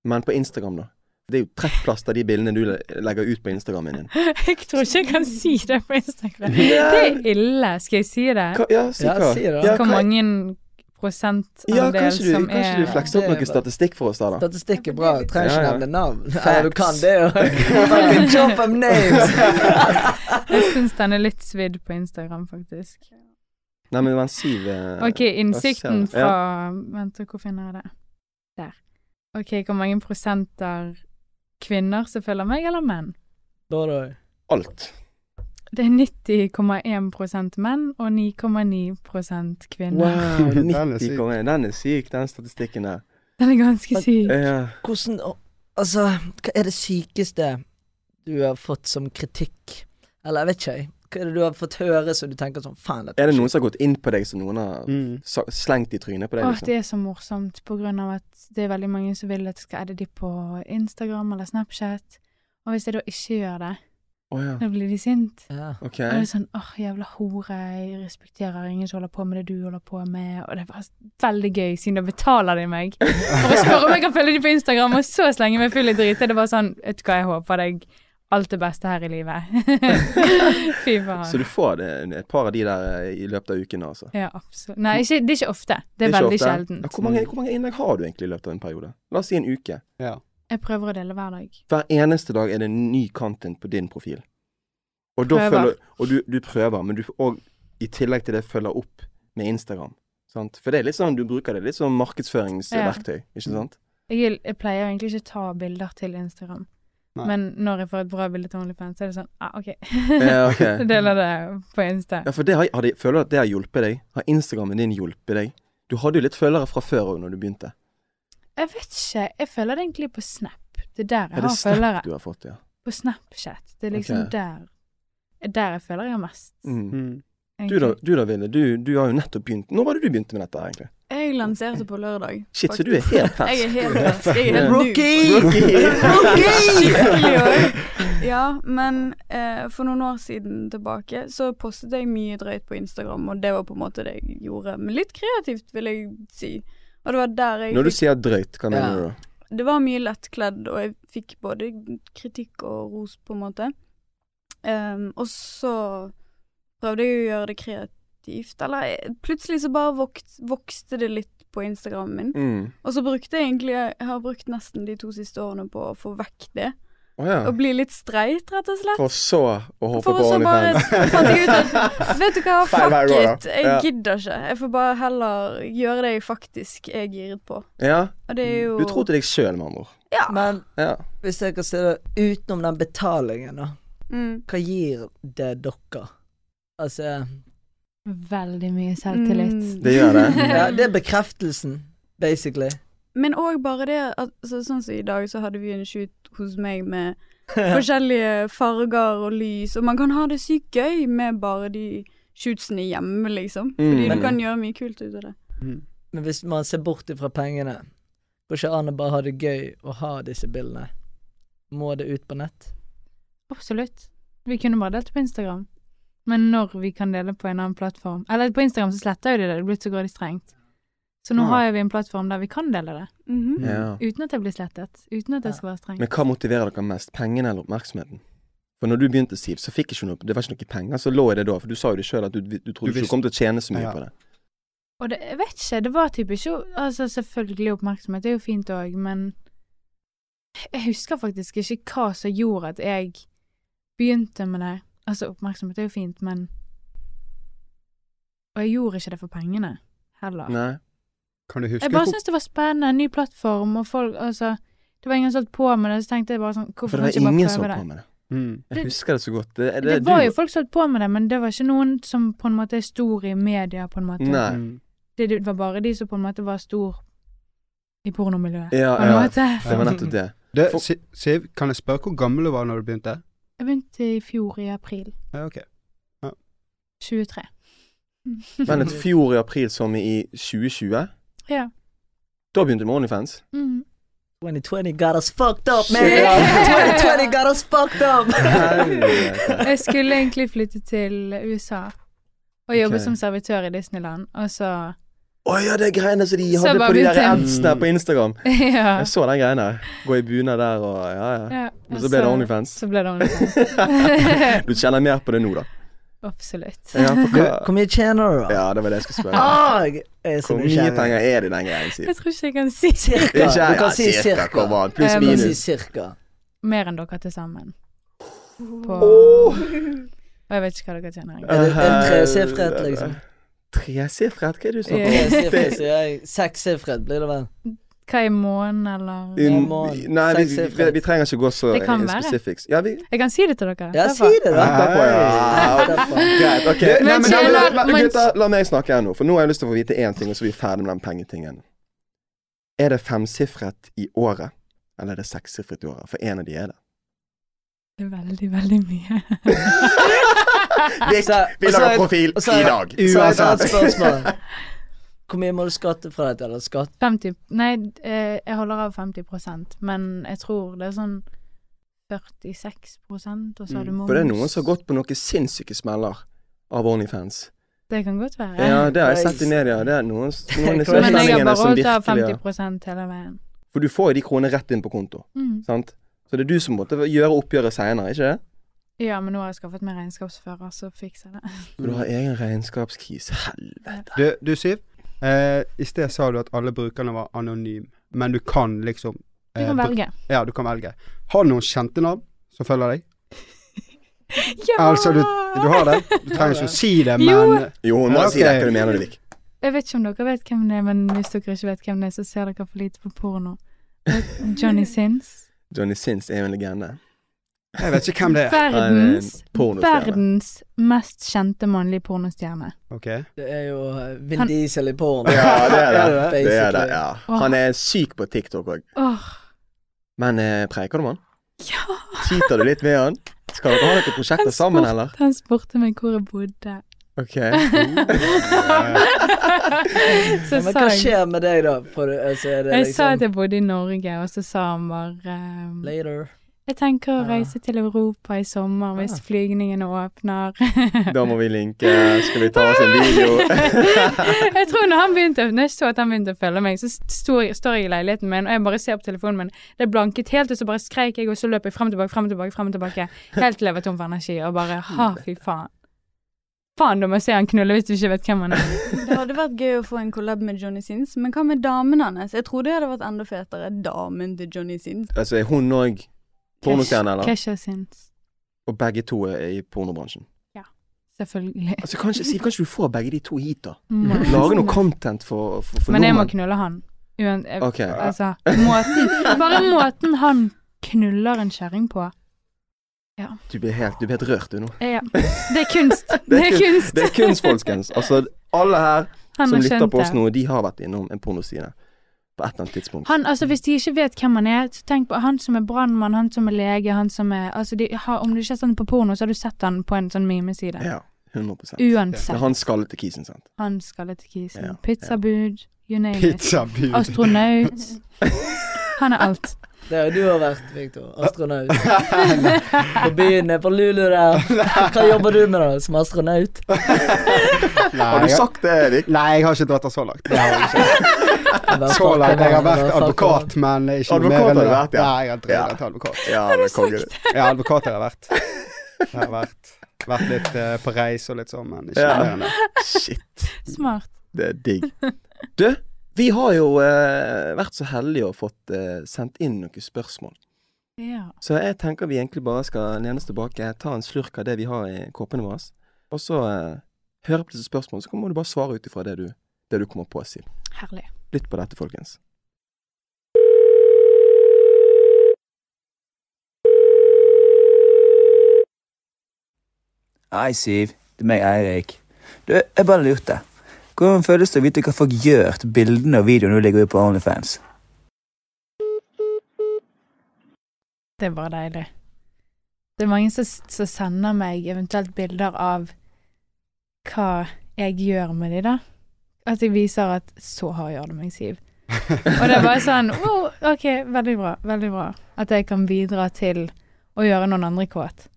C: Men på Instagram, da. Det er jo trekkplass av de bildene du le- legger ut på Instagrammen din.
D: Jeg tror ikke jeg kan si det på Instagram.
C: Ja.
D: Det er ille, skal jeg si det?
C: Hva, ja, si
B: Ja,
C: hva.
B: si det da.
C: Ja,
D: Hvor
C: hva-
D: mange prosentandel
C: ja, kanskje du,
D: som
C: kanskje du
D: er
C: flekser opp
B: Det er
C: noe
B: bra.
C: statistikk for oss der, da.
B: Statistikk er bra. Trenger
C: Ja,
B: ikke
C: ja.
B: nevne navn. Eller du kan
C: Facts.
B: det, jo. Fucking Chop them names.
D: Jeg syns den er litt svidd på Instagram, faktisk.
C: Nei, men vent, Siv eh,
D: OK, innsikten
C: hva skjer?
D: fra Vent, hvor finner jeg det? Der. OK, hvor mange prosenter kvinner som følger meg, eller menn?
B: Både og.
C: Alt.
D: Det er 90,1 menn og 9,9 kvinner.
C: Wow,
A: Den er
C: 90
A: syk.
C: kom inn. Den er syk, den statistikken der.
D: Den er ganske syk.
C: Ja.
B: Hvordan å, Altså, hva er det sykeste du har fått som kritikk? Eller jeg vet ikke, jeg. Hva er det du har fått høre så du tenker sånn faen dette
C: Er det noen som har gått inn på deg som noen har
A: Mm.
C: sa- slengt i trynet på deg?
D: Åh,
C: Liksom?
D: det er så morsomt på grunn av at det er veldig mange som vil at jeg skal adde de på Instagram eller Snapchat. Og hvis jeg da ikke gjør det,
C: Å, ja.
D: da blir de sint.
B: Ja.
C: Ok.
D: Og det er sånn åh, jævla hore, jeg respekterer ingen som holder på med det du holder på med. Og det var veldig gøy, siden da betaler de meg. For å spørre om jeg kan følge de på Instagram, og så slenge meg full i drit. Det var sånn, vet du hva, jeg håper deg alt det beste her i livet. Fy
C: Så
D: faen.
C: du får det, et par av de der eh, i løpet av uken, altså?
D: Ja, absolutt. Nei, ikke, det er ikke ofte. Det er,
C: ikke
D: veldig
C: ofte.
D: sjeldent.
C: Ja, Hvor mange, hvor mange innlegg har du egentlig i løpet av en periode? La oss si en uke.
A: Ja.
D: Jeg prøver å dele hver dag.
C: Hver eneste dag er det en ny content på din profil. Og, da
D: Prøver.
C: følger, og du, du prøver, men du f- og i tillegg til det følger opp med Instagram. Sant? For det er litt sånn, du bruker det litt som markedsføringsverktøy, ikke sant?
D: Jeg, jeg pleier egentlig ikke ta bilder til Instagram.
A: Nei.
D: Men når jeg får et bra bilde til OnlyFans, så er det sånn ah, OK.
C: Ja, ok.
D: Så deler det på Insta.
C: Eh. Ja, for det har, har de, føler du at det har hjulpet deg? Har Instagrammen din hjulpet deg? Du hadde jo litt følgere fra før òg, når du begynte.
D: Jeg vet ikke. Jeg følger det egentlig på Snap. Det er der
C: Er
D: jeg
C: det
D: har følgere.
C: Snap du har fått, ja?
D: På Snapchat. Det er liksom
C: Ok.
D: der Der jeg føler jeg har mest.
C: Mm.
A: Mm.
C: Du da,
D: egentlig.
C: du da Ville, du, du har jo nettopp begynt. Når var det du begynte med dette, egentlig?
E: Jeg lanserte på lørdag.
C: Shit, så du er
E: faktisk.
C: helt fersk.
E: Jeg er helt fersk. Jeg er helt noob.
C: Rookie!
E: Ja, men eh, for noen år siden tilbake så postet jeg mye drøyt på Instagram, og det var på en måte det jeg gjorde. Men litt kreativt, vil jeg si. Og det var der jeg
C: Når du
E: fikk,
C: sier drøyt, hva mener
B: Ja.
C: du da?
E: Det var mye lettkledd, og jeg fikk både kritikk og ros, på en måte. Ehm, og så prøvde jeg å gjøre det kreativt, eller jeg- plutselig så bare vok vokste det litt på Instagramen min.
C: Mm.
E: Og så brukte jeg egentlig Jeg har brukt nesten de to siste årene på å få vekk det.
C: Å ja.
E: Og bli litt streit, rett og slett.
C: For så å hoppe
E: For
C: på
E: så bare
C: OnlyFans.
E: fant jeg ut at Vet du hva,
C: Feil
E: fuck
C: vei å gå, da.
E: it. Jeg
C: Ja.
E: gidder ikke. Jeg får bare heller gjøre det jeg faktisk er giret på.
C: Ja.
E: Og det er jo
C: Mm. Du tror til deg sjøl, med andre ord.
E: Ja.
B: Men
C: Ja.
B: hvis jeg kan se det utenom den betalingen, da.
E: Mm.
B: Hva gir det dere? Altså
D: Veldig mye selvtillit.
E: Mm.
C: Det gjør det.
B: Ja, det er bekreftelsen, basically.
E: Men òg bare det at så, Sånn som i dag, så hadde vi en shoot hos meg med forskjellige farger og lys, og man kan ha det sykt gøy med bare de shootsene hjemme, liksom. Fordi
C: Mm.
E: du kan gjøre mye kult ut av det.
A: Mm.
B: Men hvis man ser bort ifra pengene, går ikke an å bare ha det gøy å ha disse bildene? Må det ut på nett?
D: Absolutt. Vi kunne bare delt på Instagram. Men når vi kan dele på en annen plattform Eller på Instagram så sletter jo de det, det er blitt så grådig strengt. Så nå
C: Ja.
D: har jo vi en plattform der vi kan dele det,
E: Mhm.
C: Ja.
D: uten at det blir slettet. Uten at det skal være strengt.
C: Men hva motiverer dere mest? Pengene eller oppmerksomheten? For når du begynte, Siv, så fikk ikke noe, det var ikke noe penger. Så lå i det da, for du sa jo det sjøl at du, du trodde
A: Du
C: ikke
A: visste-
C: du kom til å tjene så mye
A: Ja.
C: på det.
D: Og det, jeg vet ikke, det var typ ikke Altså, selvfølgelig oppmerksomhet er jo fint òg, men Jeg husker faktisk ikke hva som gjorde at jeg begynte med det. Altså, oppmerksomhet er jo fint, men Og jeg gjorde ikke det for pengene, heller.
C: Nei.
A: Kan du huske
D: Jeg bare
A: hvor-
D: syns det var spennende, en ny plattform og folk Altså, Det var ingen som holdt på med det, så tenkte jeg bare sånn
C: For
D: Hvorfor
C: det var
D: kan ikke jeg
C: ingen
D: bare
C: som
D: prøve
C: holdt
D: det?
C: på med det.
A: Mm.
C: Jeg
D: Det-
C: husker det så godt. Det, det,
D: Det var
C: du-
D: jo folk som holdt på med det, men det var ikke noen som på en måte er stor i media, på en måte.
C: Nei.
A: Mm.
D: Det, det var bare de som på en måte var stor i pornomiljøet,
C: Ja,
D: på en
C: ja.
D: måte.
C: Det var nettopp det.
A: Du,
C: For-
A: Si- Siv, kan jeg spørre hvor gammel du var når du begynte?
D: Jeg begynte i fjor, i april.
A: Ja, ok.
D: 23.
C: Men et fjor i april som i 2020,
D: Ja.
C: da begynte vi med Onlyfans.
D: Mm.
B: 2020 got us fucked up, man!
C: Shit.
B: 2020 got us fucked up!
C: Helvete.
D: Jeg skulle egentlig flytte til USA og jobbe
C: Ok.
D: som servitør i Disneyland, og så
C: Å ja, det er greiene som de
D: Så
C: hadde
D: bare
C: på de der
D: begynte-
C: adsene på Instagram.
D: Ja.
C: Jeg så den greia der. Gå i bunad der og ja, ja.
D: ja.
C: Men så ble det Onlyfans.
D: Så ble det Onlyfans.
C: Du kjenner mer på det nå, da.
D: Absolutt.
C: Ja, for hva-
B: Hvor mye tjener du, da?
C: ja det var det jeg skulle spørre.
B: Ah, jeg er så
C: Hvor mye
B: nysgjerrig.
C: penger er det i den greien, Siv?
D: Jeg tror ikke jeg kan si
B: Cirka.
C: Ikke-
B: Du
C: ja,
B: kan si
C: cirka,
B: cirka.
C: kom an, Pluss
D: Eh,
B: Du kan si
C: minus.
B: cirka.
D: mer enn dere til sammen. På Og jeg vet ikke hva dere tjener engang.
B: Er det en tresifret, liksom?
C: Tresifret? Hva er det du snakker
D: Ja.
C: om?
B: Tresifret,
C: Det-
B: sier jeg. Sekssifret blir det vel.
D: Hva i måneden, eller
B: Ja,
C: Um,
B: mål.
C: Nei, vi, vi, vi,
B: Tresifret.
C: vi trenger ikke gå så
D: Det kan
C: i
D: være.
C: specifics. Ja, vi
D: Jeg kan si det til dere.
B: Ja,
D: derfor.
B: si det, da.
C: Etterpå, ja. Greit, ok.
A: Men
C: Nei, men, da-
A: tjener-
C: la- la-
D: men-
C: gutter, la meg snakke her nå, for nå har jeg lyst til å få vite én ting, og så er vi ferdig med den pengetingen. Er det femsifret i året, eller er det sekssifret i året? For en av de er det.
D: Det er veldig, veldig mye.
C: Vi,
B: Så-
C: vi
B: og så
C: lager
B: er-
C: profil
B: og så er-
C: i dag.
B: Så er det et
A: Uansett.
B: annet spørsmål. Hvor mye må du skatte fra dette? Eller skatt?
D: 50 Nei, eh, jeg holder av 50 men jeg tror det er sånn 46 og så har du
A: Mm,
D: moms.
C: For det er noen som har gått på noen sinnssyke smeller av Onlyfans.
D: Det kan godt være.
C: Ja, det har jeg
B: Nei.
C: sett i media. Det er noen, noen i
B: Men
D: Men jeg har
C: meldingene
D: bare
C: som
D: holdt av
C: virkelig
D: 50 hele veien.
C: For du får jo de kronene rett inn på konto,
D: Mm.
C: sant? Så det er du som måtte gjøre oppgjøret seinere, ikke det?
B: Mm.
D: Ja, men nå har jeg skaffet meg regnskapsfører, så fikser jeg det.
C: For du har egen regnskapskris. Helvete.
A: Du, du Siv, eh, i sted sa du at alle brukerne var anonyme, men du kan liksom
D: Du kan
A: br-
D: velge.
A: Ja, du kan velge. Har du noen kjente navn som følger deg?
D: Ja!
A: Altså, Du har det? Du trenger ikke å si det, men eh,
D: Jo.
C: Jo, hun må
A: Ja,
C: si det
A: ok.
C: hva du mener, Ulrik.
D: Jeg vet ikke om dere vet hvem det er, men hvis dere ikke vet hvem det er, så ser dere for lite på porno. Johnny Sins.
C: Johnny Sins er jo en legende.
A: jeg vet ikke hvem det er.
C: Han er en
D: Verdens,
C: pornostjerne.
D: verdens mest kjente mannlige pornostjerne.
A: Ok.
B: Det er jo eh, Vin
D: Han-
B: Diesel i porno.
C: Ja, det er det.
A: Er
B: det det?
C: det, er det
B: Basically.
C: ja. Han er syk på TikTok òg.
D: Åh,
C: Men eh, preiker du med han?
D: ja!
C: Cheater du litt med han? Skal dere ha noen prosjekter
D: Han
C: sammen,
D: spurte-
C: eller?
D: Han spurte meg hvor jeg bodde.
C: Ok.
D: så
B: Men
D: sa
B: hva
D: jeg
B: skjer med deg, da? For, du- altså, er det
D: Jeg sa at
B: liksom
D: jeg bodde i Norge, og så sa han bare ehm,
B: Later.
D: Jeg tenker å
B: Ah.
D: reise til Europa i sommer hvis
B: Ah.
D: flygningene åpner.
C: Da må vi linke. Skal vi ta oss en video?
D: jeg tror når han begynte Når jeg så at han begynte å følge meg, så sto, jeg- står jeg i leiligheten min, og jeg bare ser på telefonen min. Det blanket helt, og så bare skreik jeg, og så løp jeg frem og tilbake, frem og tilbake, frem og tilbake. Helt til jeg var tom for energi, og bare ha, fy faen. Faen, du må se han knulle hvis du ikke vet hvem han er.
E: Det hadde vært gøy å få en collab med Johnny Sins, men hva med damen hans? Jeg tror det hadde vært enda fetere. Damen til Johnny Sins.
C: altså, er hun òg pornostjerne, eller?
D: Kesha Sins.
C: Og begge to er i pornobransjen.
D: Selvfølgelig.
C: Altså, kanskje, Siv, kanskje du får begge de to hit, da?
D: Må-
C: Lage noe content for, for, for
D: Men jeg må
C: nordmenn.
D: knulle han. Uan, jeg,
C: Ok.
D: Altså, måten Bare måten han knuller en kjerring på.
C: Du blir helt, du blir helt rørt, du nå.
D: Eh, Ja. Det er kunst.
C: Det
D: Det
C: er
D: er kunst.
C: Det er kunst, folkens. Altså, alle her
D: Han
C: som
D: har
C: lytter
D: skjønt
C: på oss
D: det.
C: nå, de har vært innom en pornoside på et eller annet tidspunkt.
D: Han, altså Hvis de ikke vet hvem han er, så tenk på han som er brannmann, han som er lege, han som er altså de, har, Om du ikke har sett han på porno, så har du sett han på en sånn mimeside.
C: Ja, 100 Det er
D: Uansett.
C: han skallete kisen, sant.
D: Han skal til kisen.
C: Ja,
D: Pizzabud, you name it.
A: Pizzabud.
D: Altså, Astronaut. Han er alt.
B: Det har jo du har vært, Victor. Astronaut. På byen nede på Lulu der. Hva jobber du med, da? Som astronaut?
A: Nei,
C: Har du
A: jeg-
C: sagt det, Erik?
A: Nei, jeg har ikke dratt det så langt. Det har jeg ikke.
B: Jeg bare
A: Så
B: fucker
A: langt. Jeg har
B: han,
A: vært
B: bare fucker
A: advokat, men ikke noe
C: Advokat
A: mer
C: har du
A: enn det.
C: vært, ja.
A: Nei, jeg har
C: Ja.
A: drevet til advokat.
C: Ja, men konge.
A: Ja, advokat har jeg vært. Jeg har vært, vært litt eh, på reis og litt sånn, men ikke
C: Ja.
A: mer enn det.
C: Shit,
D: Smart.
C: det er digg. Du, vi har jo eh, vært så heldige og fått eh, sendt inn noen spørsmål.
D: Ja.
C: Så jeg tenker vi egentlig bare skal lene oss tilbake, ta en slurk av det vi har i koppene våre, og så eh, høre på disse spørsmålene, så må du bare svare ut ifra det du, det du kommer på, Siv.
D: Herlig.
C: Lytt på dette, folkens.
F: Hei, Siv. Det er meg, Eirik. Du, jeg bare lurte. Hvordan føles det å vite hva folk gjør til bildene og videoene du legger ut på OnlyFans?
D: Det er bare deilig. Det er mange som, som sender meg eventuelt bilder av hva jeg gjør med de da. At jeg viser at 'så hard gjør det meg, Siv'. Og det er bare sånn wow, OK, veldig bra. Veldig bra. At jeg kan bidra til å gjøre noen andre kåt.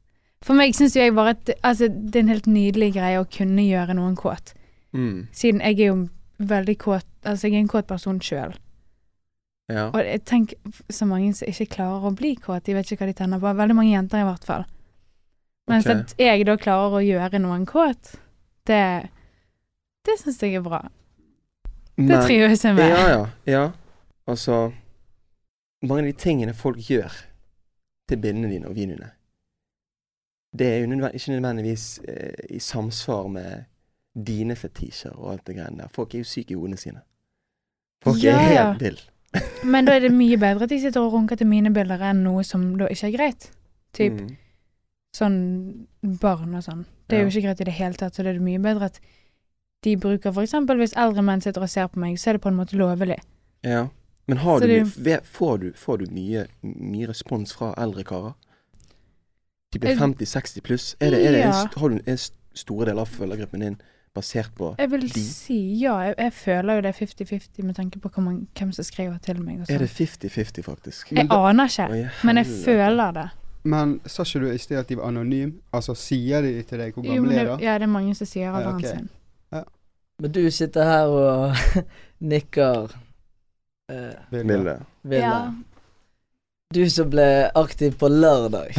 D: For meg syns jo jeg bare at det- altså, det er en helt nydelig greie å kunne gjøre noen kåt.
C: Mm.
D: Siden jeg er jo veldig kåt Altså, jeg er en kåt person sjøl.
C: Ja.
D: Og jeg tenker f- så mange som ikke klarer å bli kåt. De vet ikke hva de tenner på. Veldig mange jenter i hvert fall. Mens
C: Ok.
D: at jeg da klarer å gjøre noen kåt, det Det syns jeg er bra. Det
C: Men-
D: trives jeg med.
C: Ja, ja. ja. Altså Mange av de tingene folk gjør til bildene dine og videoene, det er jo nødven- ikke nødvendigvis eh, i samsvar med dine fetisjer og alt det greiene der. Folk er jo syke i hodene sine. Folk
D: Ja,
C: er
D: ja.
C: helt vill.
D: Men da er det mye bedre at de sitter og runker til mine bilder enn noe som da ikke er greit. Typ
C: Mm.
D: sånn barn og sånn. Det er jo
C: Ja.
D: ikke greit i det hele tatt, så det er det mye bedre at de bruker for eksempel hvis eldre menn sitter og ser på meg, så er det på en måte lovelig.
C: Ja. Men har
D: Så
C: du,
D: det er
C: mye- ve- får du, får du mye, mye respons fra eldre karer? De blir
D: Eh,
C: 50-60 pluss. Er det, er det en,
D: ja.
C: st- har du en st- store deler av følgergruppen din basert på
D: Jeg vil
C: De-
D: si ja, jeg, jeg føler jo det er 50-50 med tanke på hvor mange- hvem som skriver til meg og
C: Er
D: sånn.
C: det 50-50, faktisk?
D: Jeg aner ikke,
C: Oi,
D: men jeg
C: helvete.
D: føler det.
A: Men sa ikke du i sted at de var anonyme? Altså sier de til deg hvor
D: Jo, men
A: gammel
D: det,
A: er da?
D: ja, det er mange som sier alderen
A: ok.
D: sin.
B: Men du sitter her og nikker eh,
A: Ville.
C: Mille.
B: Ville. Du som ble aktiv på lørdag.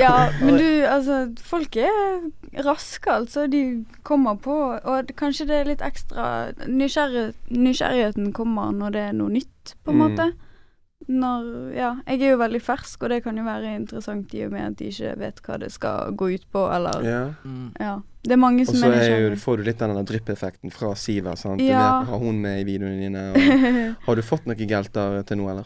E: ja, men du, altså Folk er raske, altså. De kommer på, og det- kanskje det er litt ekstra nysgjerrig, Nysgjerrigheten kommer når det er noe nytt, på en
C: Mm.
E: måte. Når Ja, jeg er jo veldig fersk, og det kan jo være interessant i og med at de ikke vet hva det skal gå ut på, eller
C: Ja.
E: Ja. Det er mange
C: Og
E: som
C: så er
E: er
C: jo,
D: sånn-
E: nysgjerrige.
C: får du litt den der dryppeffekten fra Siver. sant? Du
E: Ja.
C: vet, har hun med i videoene dine? Og... Har du fått noen gelter til nå, eller?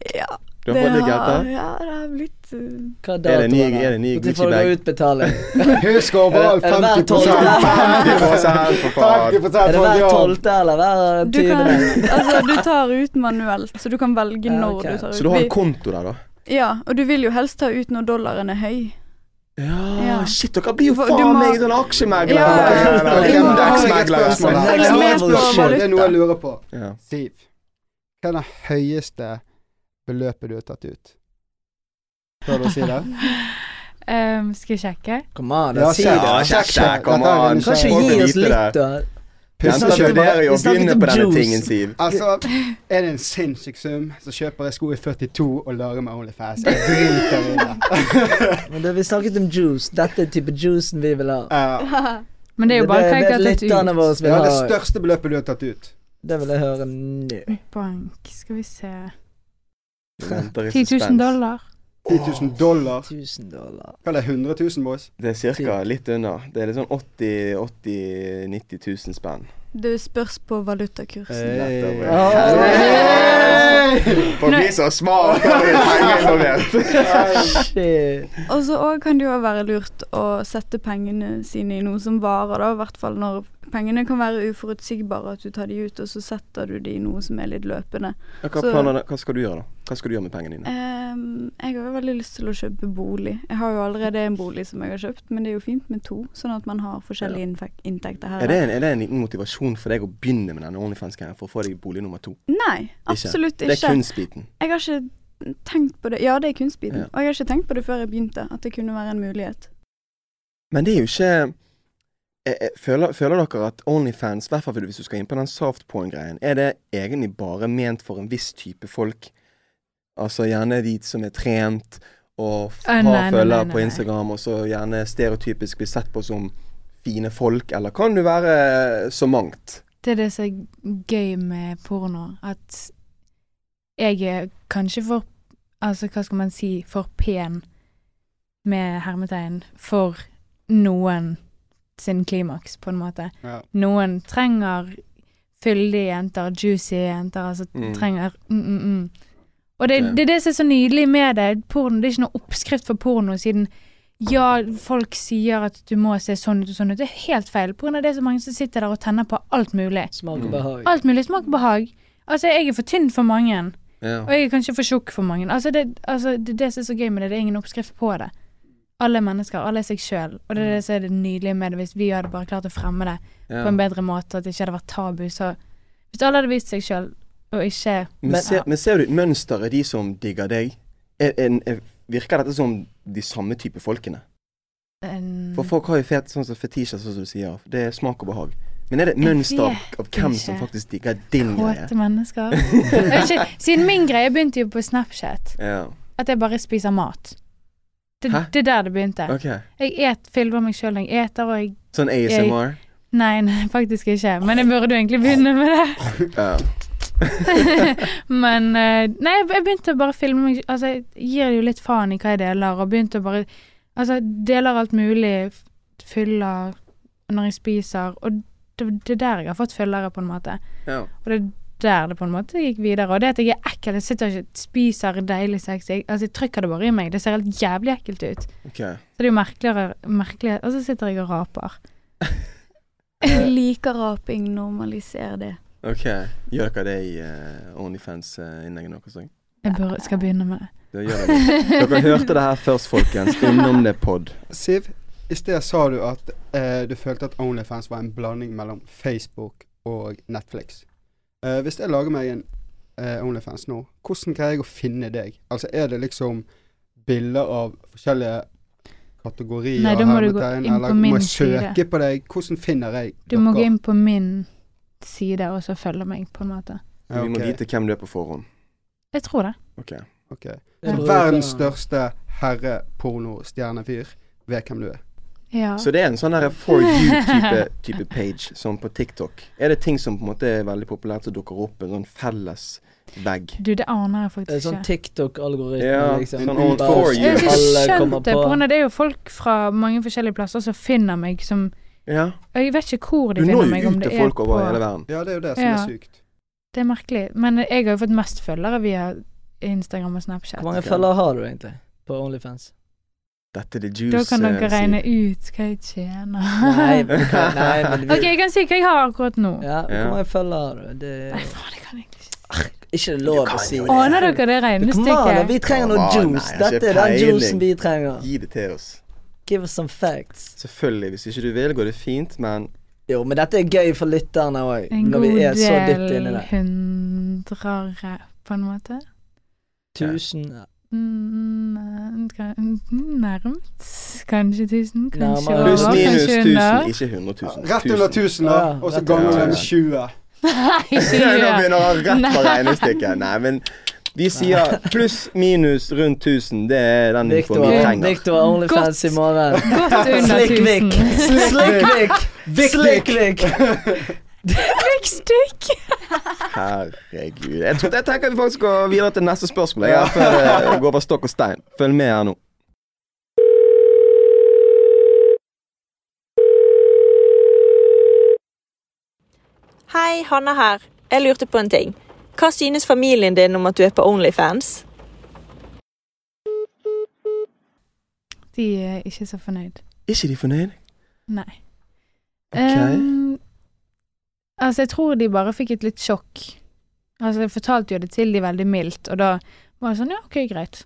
E: ja,
C: Du har fått litt
E: har,
C: gelter?
E: ja, det har blitt uh,
B: Hva
C: Er det
B: dato
C: ny-
B: er det?
C: er det ny
B: Og til får du
C: Gucci-bag?
B: utbetaling.
A: Husk overalt
B: Er det- er det hver
A: 50
B: tolvte?
C: 50 for faen!
A: 50
B: Er det hver
A: tolv?
B: tolvte eller hver
E: du, kan,
B: tiende?
E: altså, du tar ut manuelt, så du kan velge
B: Ja,
E: når
B: ok.
E: du tar ut.
C: Så du har
E: Vi-
C: en konto der, da?
E: Ja, og du vil jo helst ta ut når dollaren er høy.
C: Ja,
E: Ja.
C: shit, dere blir jo
E: For-
C: faen
E: du må-
C: meg sånn aksjemegler!
E: Ja.
C: Eller
E: Du må-
C: Indeksmegler!
A: Spørsmål
B: Altså,
C: sånn.
A: her.
E: Følg med på valuta.
A: Det er noe jeg lurer på.
C: Ja.
A: Siv, hva er det høyeste beløpet du har tatt ut? Tør du å si det?
D: Ehm, skal jeg sjekke?
B: Kom an, da,
A: Ja,
B: si
A: sjekk,
B: det.
C: Ja, sjekk det,
A: sjekk.
C: kom
A: Dette er
C: an!
A: en
B: Kanskje
A: Folk
B: gi
C: vil
B: oss
C: vite det.
B: litt, da.
C: Jenter
A: Pusser ikke du?
C: vurderer jo
B: vi
C: å
B: snakket
C: begynne
B: om
C: på denne
B: juice.
C: tingen, Siv.
A: Altså, er det en sinnssyk sum, så kjøper jeg sko i 42 og lager meg OnlyFans. Jeg driter i det.
B: Men da vi snakket om juice. Dette er type juicen vi vil ha.
A: Ja.
D: Men det er jo bare hva jeg har tatt
B: Lytterne
D: ut.
B: våre
A: Det
B: vil
A: er
B: ha.
A: det største beløpet du har tatt ut.
B: Det vil jeg høre nå.
D: Bank, skal vi se
C: Venter i
D: 10 000
C: suspens.
D: dollar.
A: 10 000 dollar.
B: 1000 dollar.
A: Hva er det, 100 000, boys?
C: Det er ca. litt under. Det er litt sånn 80 80 90 000 spenn.
E: Det spørs på valutakursen. da.
A: Hey.
C: Nettopp.
A: Hey.
C: For vi som er smarte, har vi penger involvert.
B: Shit.
E: Og så også kan det jo være lurt å sette pengene sine i noe som varer, da. I hvert fall når pengene kan være uforutsigbare, at du tar de ut, og så setter du de i noe som er litt løpende.
C: Hva,
E: Så-
C: planer, hva skal du gjøre, da? Hva skal du gjøre med pengene dine?
E: Ehm, jeg har jo veldig lyst til å kjøpe bolig. Jeg har jo allerede en bolig som jeg har kjøpt, men det er jo fint med to, sånn at man har forskjellige innfek- inntekter her.
C: Er det, en, er det en liten motivasjon for deg å begynne med denne OnlyFans-greia for å få deg bolig nummer to?
E: Nei, absolutt
C: Det er
E: ikke.
C: kunstbiten.
E: Jeg har ikke tenkt på det. Ja, det er kunstbiten.
C: Ja.
E: Og jeg har ikke tenkt på det før jeg begynte, at det kunne være en mulighet.
C: Men det er jo ikke jeg, jeg, føler, føler dere at Onlyfans, i hvert fall hvis du skal inn på den softporn-greien, er det egentlig bare ment for en viss type folk? Altså gjerne de som er trent og f-
D: Å,
C: har
D: nei, nei, nei,
C: følgere
D: nei,
C: på
D: nei.
C: Instagram, og så gjerne stereotypisk blir sett på som fine folk, eller kan du være så mangt?
D: Det er det som er gøy med porno, at jeg er kanskje for Altså, hva skal man si For pen, med hermetegn, for noen sin klimaks, på en måte.
A: Ja.
D: Noen trenger fyldige jenter, juicy jenter, altså
C: Mm.
D: trenger mm, mm, mm. Og det,
C: Ok.
D: det er det som er så nydelig med det. Porno, det er ikke noe oppskrift for porno, siden ja, folk sier at du må se sånn ut og sånn ut. Det er helt feil. På grunn av det er så mange som sitter der og tenner på alt mulig.
B: Smak
C: Mm.
B: og behag.
D: Alt mulig smak og behag. Altså, jeg er for tynn for mange.
C: Ja.
D: Og jeg er kanskje for tjukk for mange. Altså, det, altså, det, det som er så gøy med det, det er ingen oppskrift på det. Alle er mennesker, alle er seg sjøl. Og det er det som er det nydelige med det, hvis vi hadde bare klart å fremme det
C: Ja.
D: på en bedre måte, at det ikke hadde vært tabu, så Hvis alle hadde vist seg sjøl, og ikke
C: Men,
B: Men-
C: ser, men ser du et mønster i de som digger deg? Er, er, er, virker dette som de samme type folkene?
D: en-
C: For folk har jo fet, sånn som fetisjer, sånn som du sier. Det er smak og behag. Men er det et
D: Jeg
C: mønster av,
D: vet
C: av hvem
D: ikke.
C: som faktisk digger din greie?
D: Kåte mennesker. Jeg vet ikke, siden min greie begynte jo på Snapchat,
C: Ja.
D: at jeg bare spiser mat. Det,
C: Hæ?
D: det er der det begynte.
C: Ok.
D: Jeg et, filmer meg sjøl når jeg eter, og jeg
C: Sånn ASMR?
D: Nei, nei, faktisk ikke. Men jeg burde jo egentlig begynne med det.
C: Ja.
D: Men eh, Nei, jeg jeg begynte å bare filme meg Altså, jeg gir jo litt faen i hva jeg deler, og begynte å bare Altså, deler alt mulig. f- Fyller når jeg spiser. Og det, det er der jeg har fått følgere, på en måte.
C: ja.
D: Og det er der det på en måte gikk videre. Og det at jeg er ekkel, jeg sitter ikke og spiser deilig sex. Jeg, altså, jeg trykker det bare i meg. Det ser helt jævlig ekkelt ut.
C: Ok.
D: Så det er jo merkeligere, merkelig, Og så sitter jeg og raper.
C: Eh.
E: Liker raping, normaliser det.
C: ok. Gjør dere det i eh, Onlyfans-innlegget deres òg?
D: Jeg bør, skal begynne med det.
C: Dere hørte det her først, folkens. Innom det pod.
A: Siv, i sted sa du at eh, du følte at Onlyfans var en blanding mellom Facebook og Netflix. Eh, hvis jeg lager meg en eh, Onlyfans nå, hvordan greier jeg å finne deg? Altså er det liksom bilder av forskjellige kategorier?
D: Nei, da må du gå
A: hermetegn,
D: inn på
A: eller
D: min
A: Må jeg søke
D: side.
A: på deg? Hvordan finner jeg
D: Du må gå inn på min side og så følge meg, på en måte.
A: Ja,
C: Vi må
A: ok,
C: vite hvem du er på forhånd.
D: Jeg tror det.
C: Ok.
A: ok.
B: Jeg bruker-
A: Verdens største herre-porno-stjernefyr vet hvem du er.
D: Ja.
C: Så det er en sånn her for you-type type page, som på TikTok. Er det ting som på en måte er veldig populært som dukker opp, en sånn felles vegg?
D: Du, det aner
B: Det
D: jeg
B: er
D: faktisk
B: sånn
D: ikke.
B: TikTok-algoritme,
C: Ja,
B: liksom.
C: sånn old
B: Bare
C: for you.
D: Jeg har ikke
B: alle kommer
D: skjønt det,
B: på.
D: på grunn av det er jo folk fra mange forskjellige plasser som finner meg som
C: Ja.
D: Og Jeg vet ikke hvor
C: Du
D: de
C: når
D: finner meg,
C: jo
D: om
C: ut
D: det
C: til
D: er
C: folk
D: på
C: over hele verden.
A: Ja, det er jo det som
D: Ja.
A: er sykt.
D: Det er merkelig. Men jeg har jo fått mest følgere via Instagram og Snapchat.
B: Hvor mange følgere har du egentlig på Onlyfans?
C: Dette er det
D: Da
C: juice.
D: kan
C: eh,
D: dere
C: sier.
D: regne ut hva jeg tjener.
B: Nei, men, nei, men vi
D: OK, jeg kan si hva jeg har akkurat nå.
B: ja, Hvor
C: Ja.
B: mange følgere har du? Det
D: Nei,
B: er
D: faen, jeg kan egentlig ikke
B: ikke lov å si.
D: Aner dere det
B: Come on,
D: regnestykket?
B: vi trenger noe
C: Come on,
B: juice.
C: nei,
B: Dette
C: ikke
B: er den
C: peiling.
B: juicen vi trenger.
C: Gi det til oss.
B: Give us some facts.
C: Selvfølgelig. Hvis ikke du vil, går det fint, men
B: Jo, men dette er gøy for lytterne òg,
D: En
B: når
D: god
B: vi er så dypt inni
D: del
B: det.
D: hundrere, på en måte.
B: Tusen
D: Mm, nei, kan- Nærmt. Kanskje 1000, kanskje
B: Nærmere.
D: over,
C: Pluss
B: hva
C: minus
D: kanskje
C: 1000,
D: under.
C: ikke 100 000.
A: Rett under 1000, da,
B: Ja,
A: og så
B: rett
A: ganger
C: under
A: du det med
C: 1000.
A: 20.
D: Nei, ikke
C: Nei, Nå
D: gjør.
C: begynner han rett på
D: Nei.
C: regnestykket. Nei, men vi sier pluss minus rundt 1000. Det er den infoen
B: Victor,
C: vi
D: Victor-
C: trenger.
B: Victor har Onlyfans i morgen.
D: Godt under
B: Slik Vik.
D: 1000.
B: Slik Vik. Slik Vik.
D: Slik stykk.
C: Herregud. Jeg, tror, jeg tenker vi faktisk går videre til neste spørsmål. Jeg er for eh, å gå over stokk og stein. Følg med her nå.
G: Hei, Hanna her. Jeg lurte på en ting. Hva synes familien din om at du er på Onlyfans?
D: De er ikke så fornøyd.
C: Er ikke de fornøyd?
D: Nei.
C: Ok.
D: Ehm, altså, jeg tror de bare fikk et litt sjokk. Altså, jeg fortalte jo det til de veldig mildt, og da var det sånn, ja, ok, greit.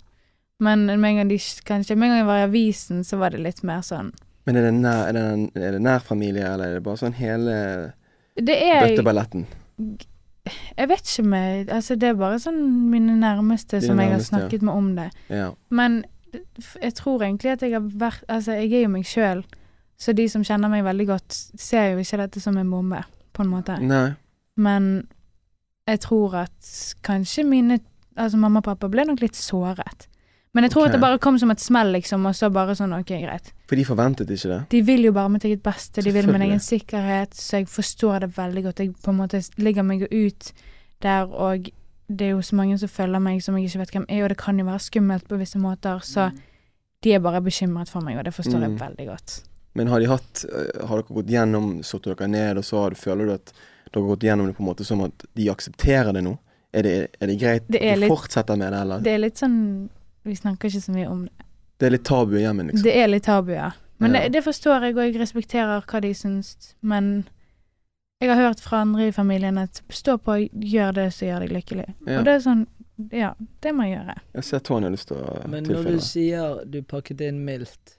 D: Men med en gang de kanskje, med en gang jeg var i avisen, så var det litt mer sånn.
C: Men er det, nær, er, det, er det nær familie, eller er det bare sånn hele
D: Det er
C: bøtteballetten?
D: Jeg vet ikke med Altså, det er bare sånn mine nærmeste
C: Dine
D: som jeg har
C: nærmeste, ja.
D: snakket med om det.
C: Ja.
D: Men f- jeg tror egentlig at jeg har vært Altså, jeg er jo meg sjøl, så de som kjenner meg veldig godt, ser jo ikke dette som en bombe, på en måte.
C: Nei.
D: Men jeg tror at kanskje mine Altså, mamma og pappa ble nok litt såret. Men jeg tror
C: Ok.
D: at det bare kom som et smell, liksom, og så bare sånn OK, greit.
C: For de forventet ikke det.
D: De vil jo bare mitt eget beste, de vil min
C: Selvfølgelig.
D: egen sikkerhet, så jeg forstår det veldig godt. Jeg på en måte ligger meg jo ut der, og det er jo så mange som følger meg som jeg ikke vet hvem er, og det kan jo være skummelt på visse måter, så de er bare bekymret for meg, og det forstår jeg
C: Mm.
D: veldig godt.
C: Men har de hatt eh, Har dere gått gjennom Satt dere ned, og så har du, føler du at dere har gått gjennom det på en måte som at de aksepterer det nå? Er det, er det greit
D: Det er
C: du
D: litt-
C: fortsetter med det, eller?
D: Det er litt sånn Vi snakker ikke så mye om det.
C: Det er litt tabu i hjemmet, liksom.
D: Det er litt tabu, ja. Men
C: Ja.
D: det, det forstår jeg, og jeg respekterer hva de syns. Men jeg har hørt fra andre i familien at stå på, gjør det som gjør deg lykkelig.
C: Ja.
D: Og det er sånn Ja, det må jeg gjøre.
C: Jeg ser Tony har lyst til å
B: Men når
C: tilføye
B: du
C: det.
B: sier du pakket det inn mildt,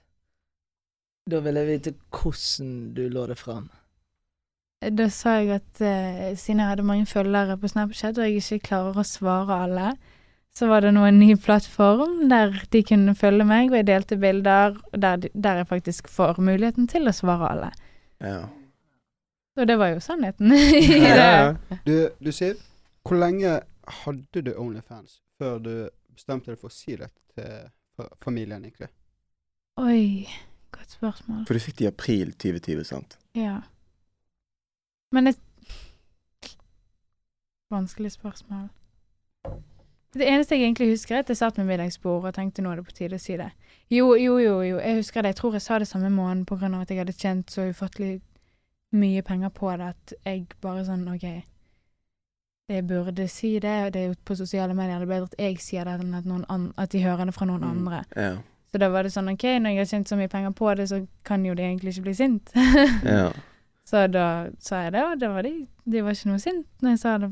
B: da vil jeg vite hvordan du lå det fram.
D: Da sa jeg at eh, siden jeg hadde mange følgere på Snapchat, og jeg ikke klarer å svare alle, så var det nå en ny plattform der de kunne følge meg, og jeg delte bilder og der, de- der jeg faktisk får muligheten til å svare alle.
C: Ja.
D: Og det var jo sannheten. i
A: Ja,
D: det.
A: Du, du Siv, hvor lenge hadde du Onlyfans før du bestemte deg for å si det til fa- familien, egentlig?
D: Oi, godt spørsmål.
C: For du fikk det i april 2020, sant?
D: Ja. Men et Vanskelig spørsmål. Det eneste jeg egentlig husker, er at jeg satt med middagsbordet og tenkte nå er det på tide å si det. Jo, jo, jo, jo, jeg husker det. Jeg tror jeg sa det samme måneden på grunn av at jeg hadde tjent så ufattelig mye penger på det at jeg bare sånn OK, jeg burde si det, og det er jo på sosiale medier. Det er bedre at jeg sier det enn at, noen an at de hører det fra noen
C: Mm.
D: andre.
C: Ja.
D: Så da var det sånn OK, når jeg har tjent så mye penger på det, så kan jo de egentlig ikke bli sint.
C: ja.
D: Så da sa jeg det, og det var de. De var ikke noe sint når jeg sa det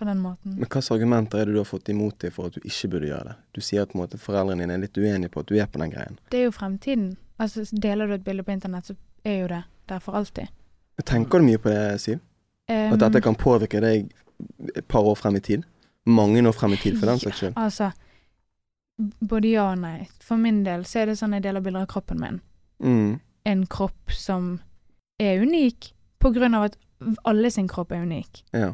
D: på den måten.
C: Men hvilke argumenter er det du har fått imot deg for at du ikke burde gjøre det? Du sier at på en måte, foreldrene dine er litt uenige på at du er på den greien.
D: Det er jo fremtiden. Altså, deler du et bilde på internett, så er jo det der for alltid.
C: Tenker du mye på det, Siv?
D: Um,
C: At dette kan påvirke deg et par år frem i tid? Mange år frem i tid, for den saks skyld.
D: Altså, b- både ja og nei. For min del så er det sånn jeg deler bilder av kroppen min.
C: Mm.
D: En kropp som er unik, på grunn av at alle sin kropp er unik.
C: Ja.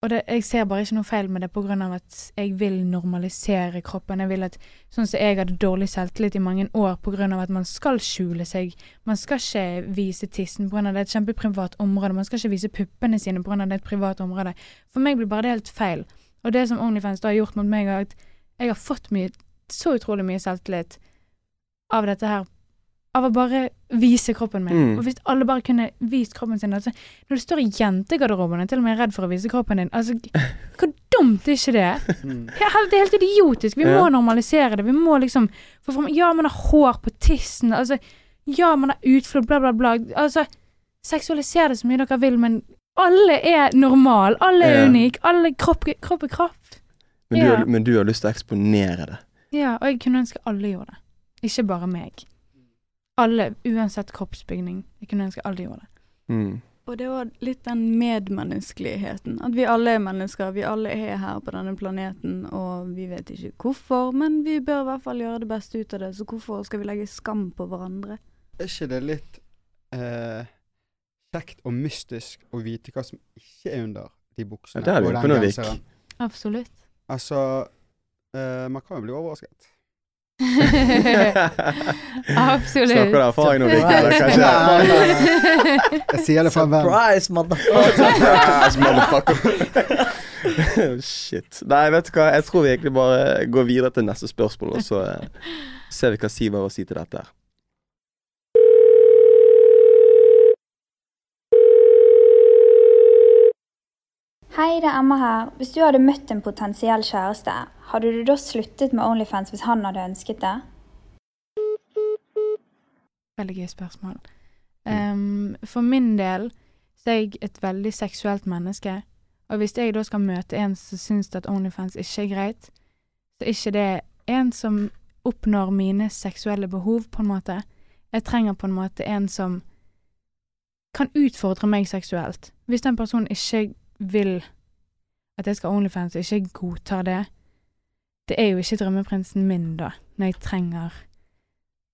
D: Og det, jeg ser bare ikke noe feil med det på grunn av at jeg vil normalisere kroppen. Jeg vil at, Sånn som jeg hadde dårlig selvtillit i mange år på grunn av at man skal skjule seg. Man skal ikke vise tissen på grunn av det er et kjempeprivat område. Man skal ikke vise puppene sine på grunn av det er et privat område. For meg blir bare det helt feil. Og det som OnlyFans da har gjort mot meg, er at jeg har fått mye, så utrolig mye selvtillit av dette her. Av å bare vise kroppen min.
C: Mm.
D: Og hvis alle bare kunne vist kroppen sin altså, Når du står i jentegarderoben og er til og med redd for å vise kroppen din altså, Hvor dumt er ikke det?
C: Mm.
D: Det er helt- det er helt idiotisk. Vi må
C: Ja.
D: normalisere det. Vi må liksom få fram Ja, man har hår på tissen. Altså, ja, man har utflod, bla, bla, bla. Altså, seksualiser det så mye dere vil, men alle er normal. Alle er
C: Ja.
D: unik. Alle kropp, kropp er kropp.
C: Men, du,
D: Ja.
C: har- men du har lyst til å eksponere det.
D: Ja, og jeg kunne ønske alle gjorde det. Ikke bare meg. Alle, uansett kroppsbygning. Jeg kunne ønske alle gjorde det.
C: Mm.
E: Og det var litt den medmenneskeligheten. At vi alle er mennesker, vi alle er her på denne planeten, og vi vet ikke hvorfor, men vi bør i hvert fall gjøre det beste ut av det, så hvorfor skal vi legge skam på hverandre?
A: Er ikke det litt eh, kjekt og mystisk å vite hva som ikke er under de
C: Ja,
A: buksene
C: der er du
A: og
C: på noe, Vik.
D: Absolutt.
A: Altså, eh, man kan jo bli overrasket.
D: Absolutt.
C: Snakker du av erfaring nå, Vik? Eller kanskje
A: Nei,
C: erfaring?
A: nei, nei. Jeg sier det fra en venn.
B: Surprise, motherfucker!
C: Ass, motherfucker. Shit. Nei, vet du hva, jeg tror vi egentlig bare går videre til neste spørsmål, og så eh, ser vi hva Siv har å si til dette her.
H: Hei, det er Emma her. Hvis du hadde møtt en potensiell kjæreste, hadde du da sluttet med Onlyfans hvis han hadde ønsket det?
D: Veldig gøy spørsmål. Ehm, for min del så er jeg et veldig seksuelt menneske. Og hvis jeg da skal møte en som syns at Onlyfans ikke er greit, så er ikke det en som oppnår mine seksuelle behov, på en måte. Jeg trenger på en måte en som kan utfordre meg seksuelt. Hvis den personen ikke vil at jeg skal ha Onlyfans, og ikke godtar det, det er jo ikke drømmeprinsen min, da, når jeg trenger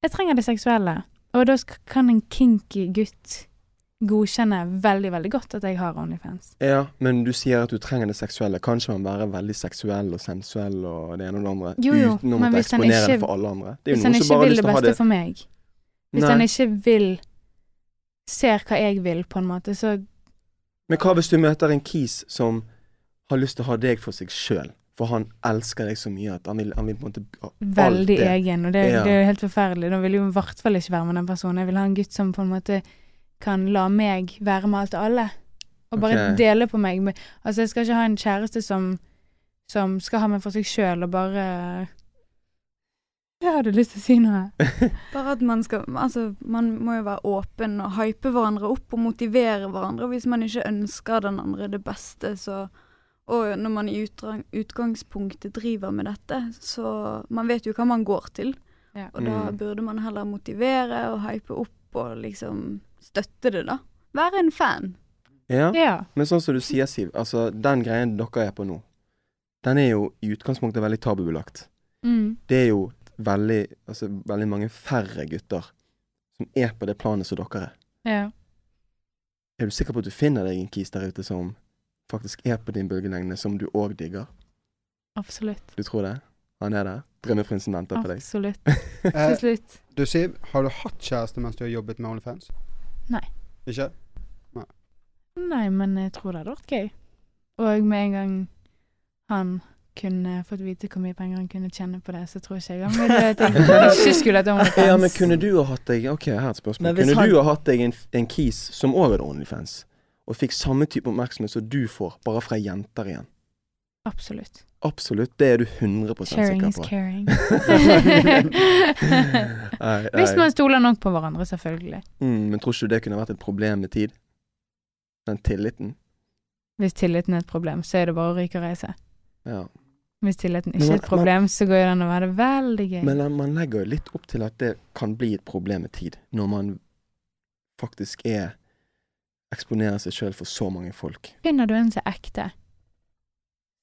D: Jeg trenger det seksuelle. Og da sk- kan en kinky gutt godkjenne veldig, veldig godt at jeg har Onlyfans.
C: Ja, men du sier at du trenger det seksuelle. Kanskje man være veldig seksuell og sensuell og det ene og det andre
D: Jo, jo,
C: uten å
D: men
C: måtte
D: hvis han
C: eksponere det
D: ikke-
C: for alle andre? Det
D: Hvis han
C: noen som
D: ikke
C: bare har
D: vil
C: lyst
D: det
C: til å ha
D: beste for meg. Hvis
C: Nei.
D: han ikke vil Ser hva jeg vil, på en måte, så
C: Men hva hvis du møter en kis som har lyst til å ha deg for seg sjøl? For han elsker deg så mye at han vil, han vil på en måte ha alt
D: veldig
C: det.
D: egen. Og det,
C: Ja.
D: det er jo helt forferdelig. Da vil jeg jo i hvert fall ikke være med den personen. Jeg vil ha en gutt som på en måte kan la meg være med alt og alle. Og bare
C: Ok.
D: dele på meg. Men, altså, jeg skal ikke ha en kjæreste som, som skal ha meg for seg sjøl og bare Jeg hadde lyst til å si noe.
E: Bare at man skal Altså, man må jo være åpen og hype hverandre opp og motivere hverandre. Og hvis man ikke ønsker den andre det beste, så Og når man i utrang- utgangspunktet driver med dette, så Man vet jo hva man går til.
D: Ja.
E: Og da
C: Mm.
E: burde man heller motivere og hype opp og liksom støtte det, da. Være en fan.
C: Ja.
D: Ja.
C: Men sånn som du sier, Siv, altså den greien dere er på nå, den er jo i utgangspunktet veldig tabubelagt.
D: Mm.
C: Det er jo veldig, altså, veldig mange færre gutter som er på det planet som dere er.
D: ja.
C: Er du sikker på at du finner deg en kis der ute som faktisk er på din bølgelengde, som du òg digger?
D: Absolutt.
C: Du tror det? Han er der? Drømmeprinsen venter på deg.
D: Absolutt. Til
A: Eh,
D: slutt.
A: du Siv, har du hatt kjæreste mens du har jobbet med OnlyFans?
D: Nei.
A: Ikke?
D: Nei, men jeg tror det hadde vært gøy. Og med en gang han kunne fått vite hvor mye penger han kunne tjene på det, så tror ikke jeg han ville tenkt at han ikke skulle hatt OnlyFans.
C: Ja, men kunne du ha hatt deg Ok, her er et spørsmål.
B: Men hvis
C: Kunne
B: han-
C: du ha hatt deg en, en kis som òg hadde OnlyFans, og fikk samme type oppmerksomhet som du får, bare fra jenter igjen?
D: Absolutt.
C: Absolutt. Det er du 100
D: Sharing
C: sikker
D: is
C: på.
D: caring.
C: Nei, nei.
D: Hvis man stoler nok på hverandre, selvfølgelig.
C: mm, men tror ikke du det kunne vært et problem med tid? Den tilliten?
D: Hvis tilliten er et problem, så er det bare å ryke og reise.
C: Ja.
D: Hvis tilliten
C: Men
D: ikke er
C: man-
D: et problem, så går jo den å være veldig gøy.
C: Men eh, man legger jo litt opp til at det kan bli et problem med tid, når man faktisk er Eksponerer seg sjøl for så mange folk.
D: Finner du en som er ekte,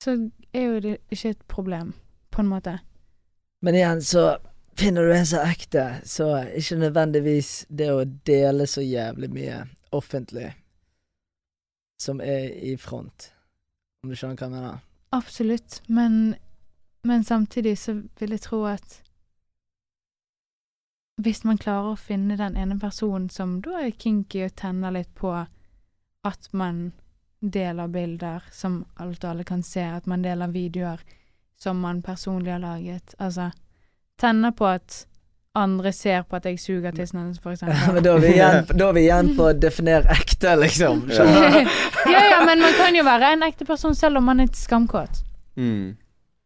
D: så er jo det ikke et problem, på en måte.
B: Men igjen, så finner du en som er ekte, så ikke nødvendigvis det å dele så jævlig mye offentlig som er i front. Om du skjønner hva jeg mener?
D: Absolutt, men, men samtidig så vil jeg tro at hvis man klarer å finne den ene personen som da er kinky og tenner litt på at man deler bilder som alt og alle kan se, at man deler videoer som man personlig har laget, altså tenner på at andre ser på at jeg suger tissen hennes, for eksempel.
B: Men da er vi igjen, da er vi igjen på å definere ekte, liksom. Skjønner du?
D: ja, ja, men man kan jo være en ekte person selv om man er skamkåt.
C: Mm.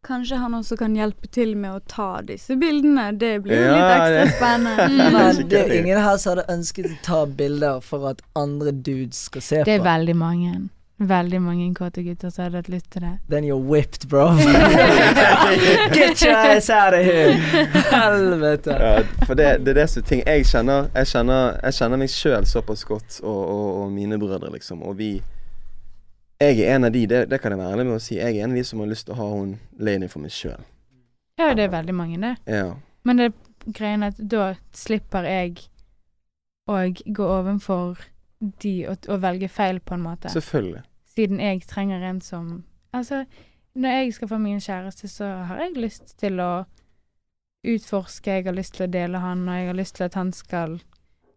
E: Kanskje han også kan hjelpe til med å ta disse bildene. Det blir jo litt
C: Ja, det-
E: ekstra spennende.
B: Men
C: sikkert
B: det er
C: det.
B: ingen her som hadde ønsket å ta bilder for at andre dudes skal se
D: Det er
B: på.
D: veldig mange. Veldig mange kåte gutter som hadde hatt lyst til det.
B: Then you're whipped, bro. Get your ass out of here! Helvete.
C: Ja, for det, det er det som ting Jeg kjenner, jeg kjenner, jeg kjenner meg sjøl såpass godt, og, og, og mine brødre, liksom. Og vi Jeg er en av de, det, det kan jeg være ærlig med å si, jeg er en av de som har lyst til å ha hun lady for meg sjøl.
D: Ja, det er veldig mange, det.
C: Ja.
D: Men det er greien at da slipper jeg å gå ovenfor de og, og velge feil, på en måte.
C: Selvfølgelig.
D: Siden jeg trenger en som Altså, når jeg skal få min kjæreste, så har jeg lyst til å utforske, jeg har lyst til å dele han, og jeg har lyst til at han skal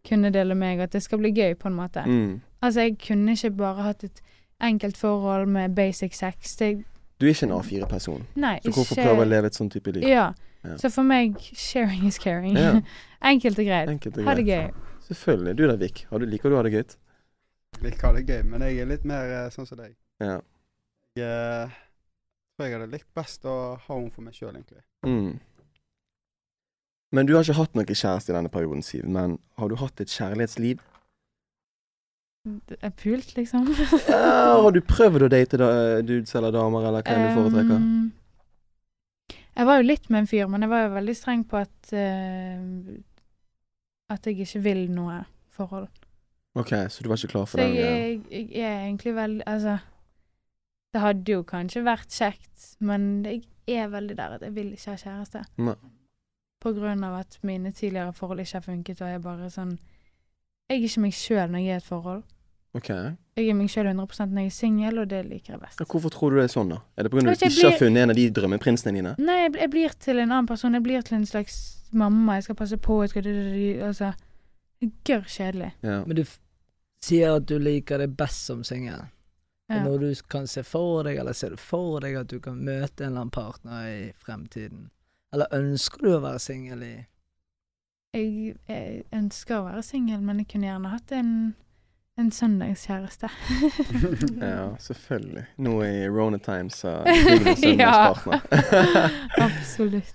D: kunne dele meg, og at det skal bli gøy, på en måte.
C: Mm.
D: Altså, jeg kunne ikke bare hatt et enkelt forhold med basic sex. Det,
C: Du er ikke en A4-person,
D: nei,
C: så hvorfor
D: ikke
C: prøve å leve et sånn type liv?
D: Ja.
C: Ja.
D: Så for meg, sharing is caring.
C: Ja.
D: Enkelt og greit.
C: Enkelt og
D: Ha det
C: greit.
D: gøy.
C: Selvfølgelig. Du da, Vik. Har du, liker du å ha det gøy?
A: Vil kalle det gøy, men jeg er litt mer eh, sånn som deg.
C: Ja.
A: Jeg eh, tror jeg hadde likt best å ha henne for meg sjøl, egentlig.
C: Mm. Men du har ikke hatt noen kjæreste i denne perioden, Siv. Men har du hatt et kjærlighetsliv?
D: Det er pult, liksom.
C: Ja, har du prøvd å date da, eh, dudes eller damer, eller hva enn du foretrekker?
D: Um, jeg var jo litt med en fyr, men jeg var jo veldig streng på at eh, At jeg ikke vil noe forhold.
C: Ok, så du var ikke klar for
D: Så
C: den?
D: jeg,
C: greien.
D: jeg, jeg er egentlig veldig Altså, det hadde jo kanskje vært kjekt, men jeg er veldig der at jeg vil ikke ha kjæreste.
C: Nei.
D: På grunn av at mine tidligere forhold ikke har funket, og jeg er bare sånn Jeg er ikke meg sjøl når jeg er i et forhold.
C: Ok. Ja,
D: Jeg er meg sjøl 100 når jeg er singel, og det liker jeg best.
C: hvorfor tror du det er sånn, da? Er det pga.
D: Jeg
C: at du
D: tror ikke jeg
C: ikke har
D: blir-
C: funnet en av de drømmeprinsene dine?
D: Nei, jeg, bl- jeg blir til en annen person. Jeg blir til en slags mamma. Jeg skal passe på, jeg skal Altså Gørr kjedelig.
C: Ja.
B: Men du f- sier at du liker det best som singel.
D: Ja.
B: Og Når du kan se for deg, eller ser du for deg at du kan møte en eller annen partner i fremtiden? Eller ønsker du å være singel i
D: Jeg, jeg ønsker å være singel, men jeg kunne gjerne hatt en, en søndagskjæreste.
C: ja, selvfølgelig. Nå i Rona Times så er det søndagspartner.
D: Absolutt.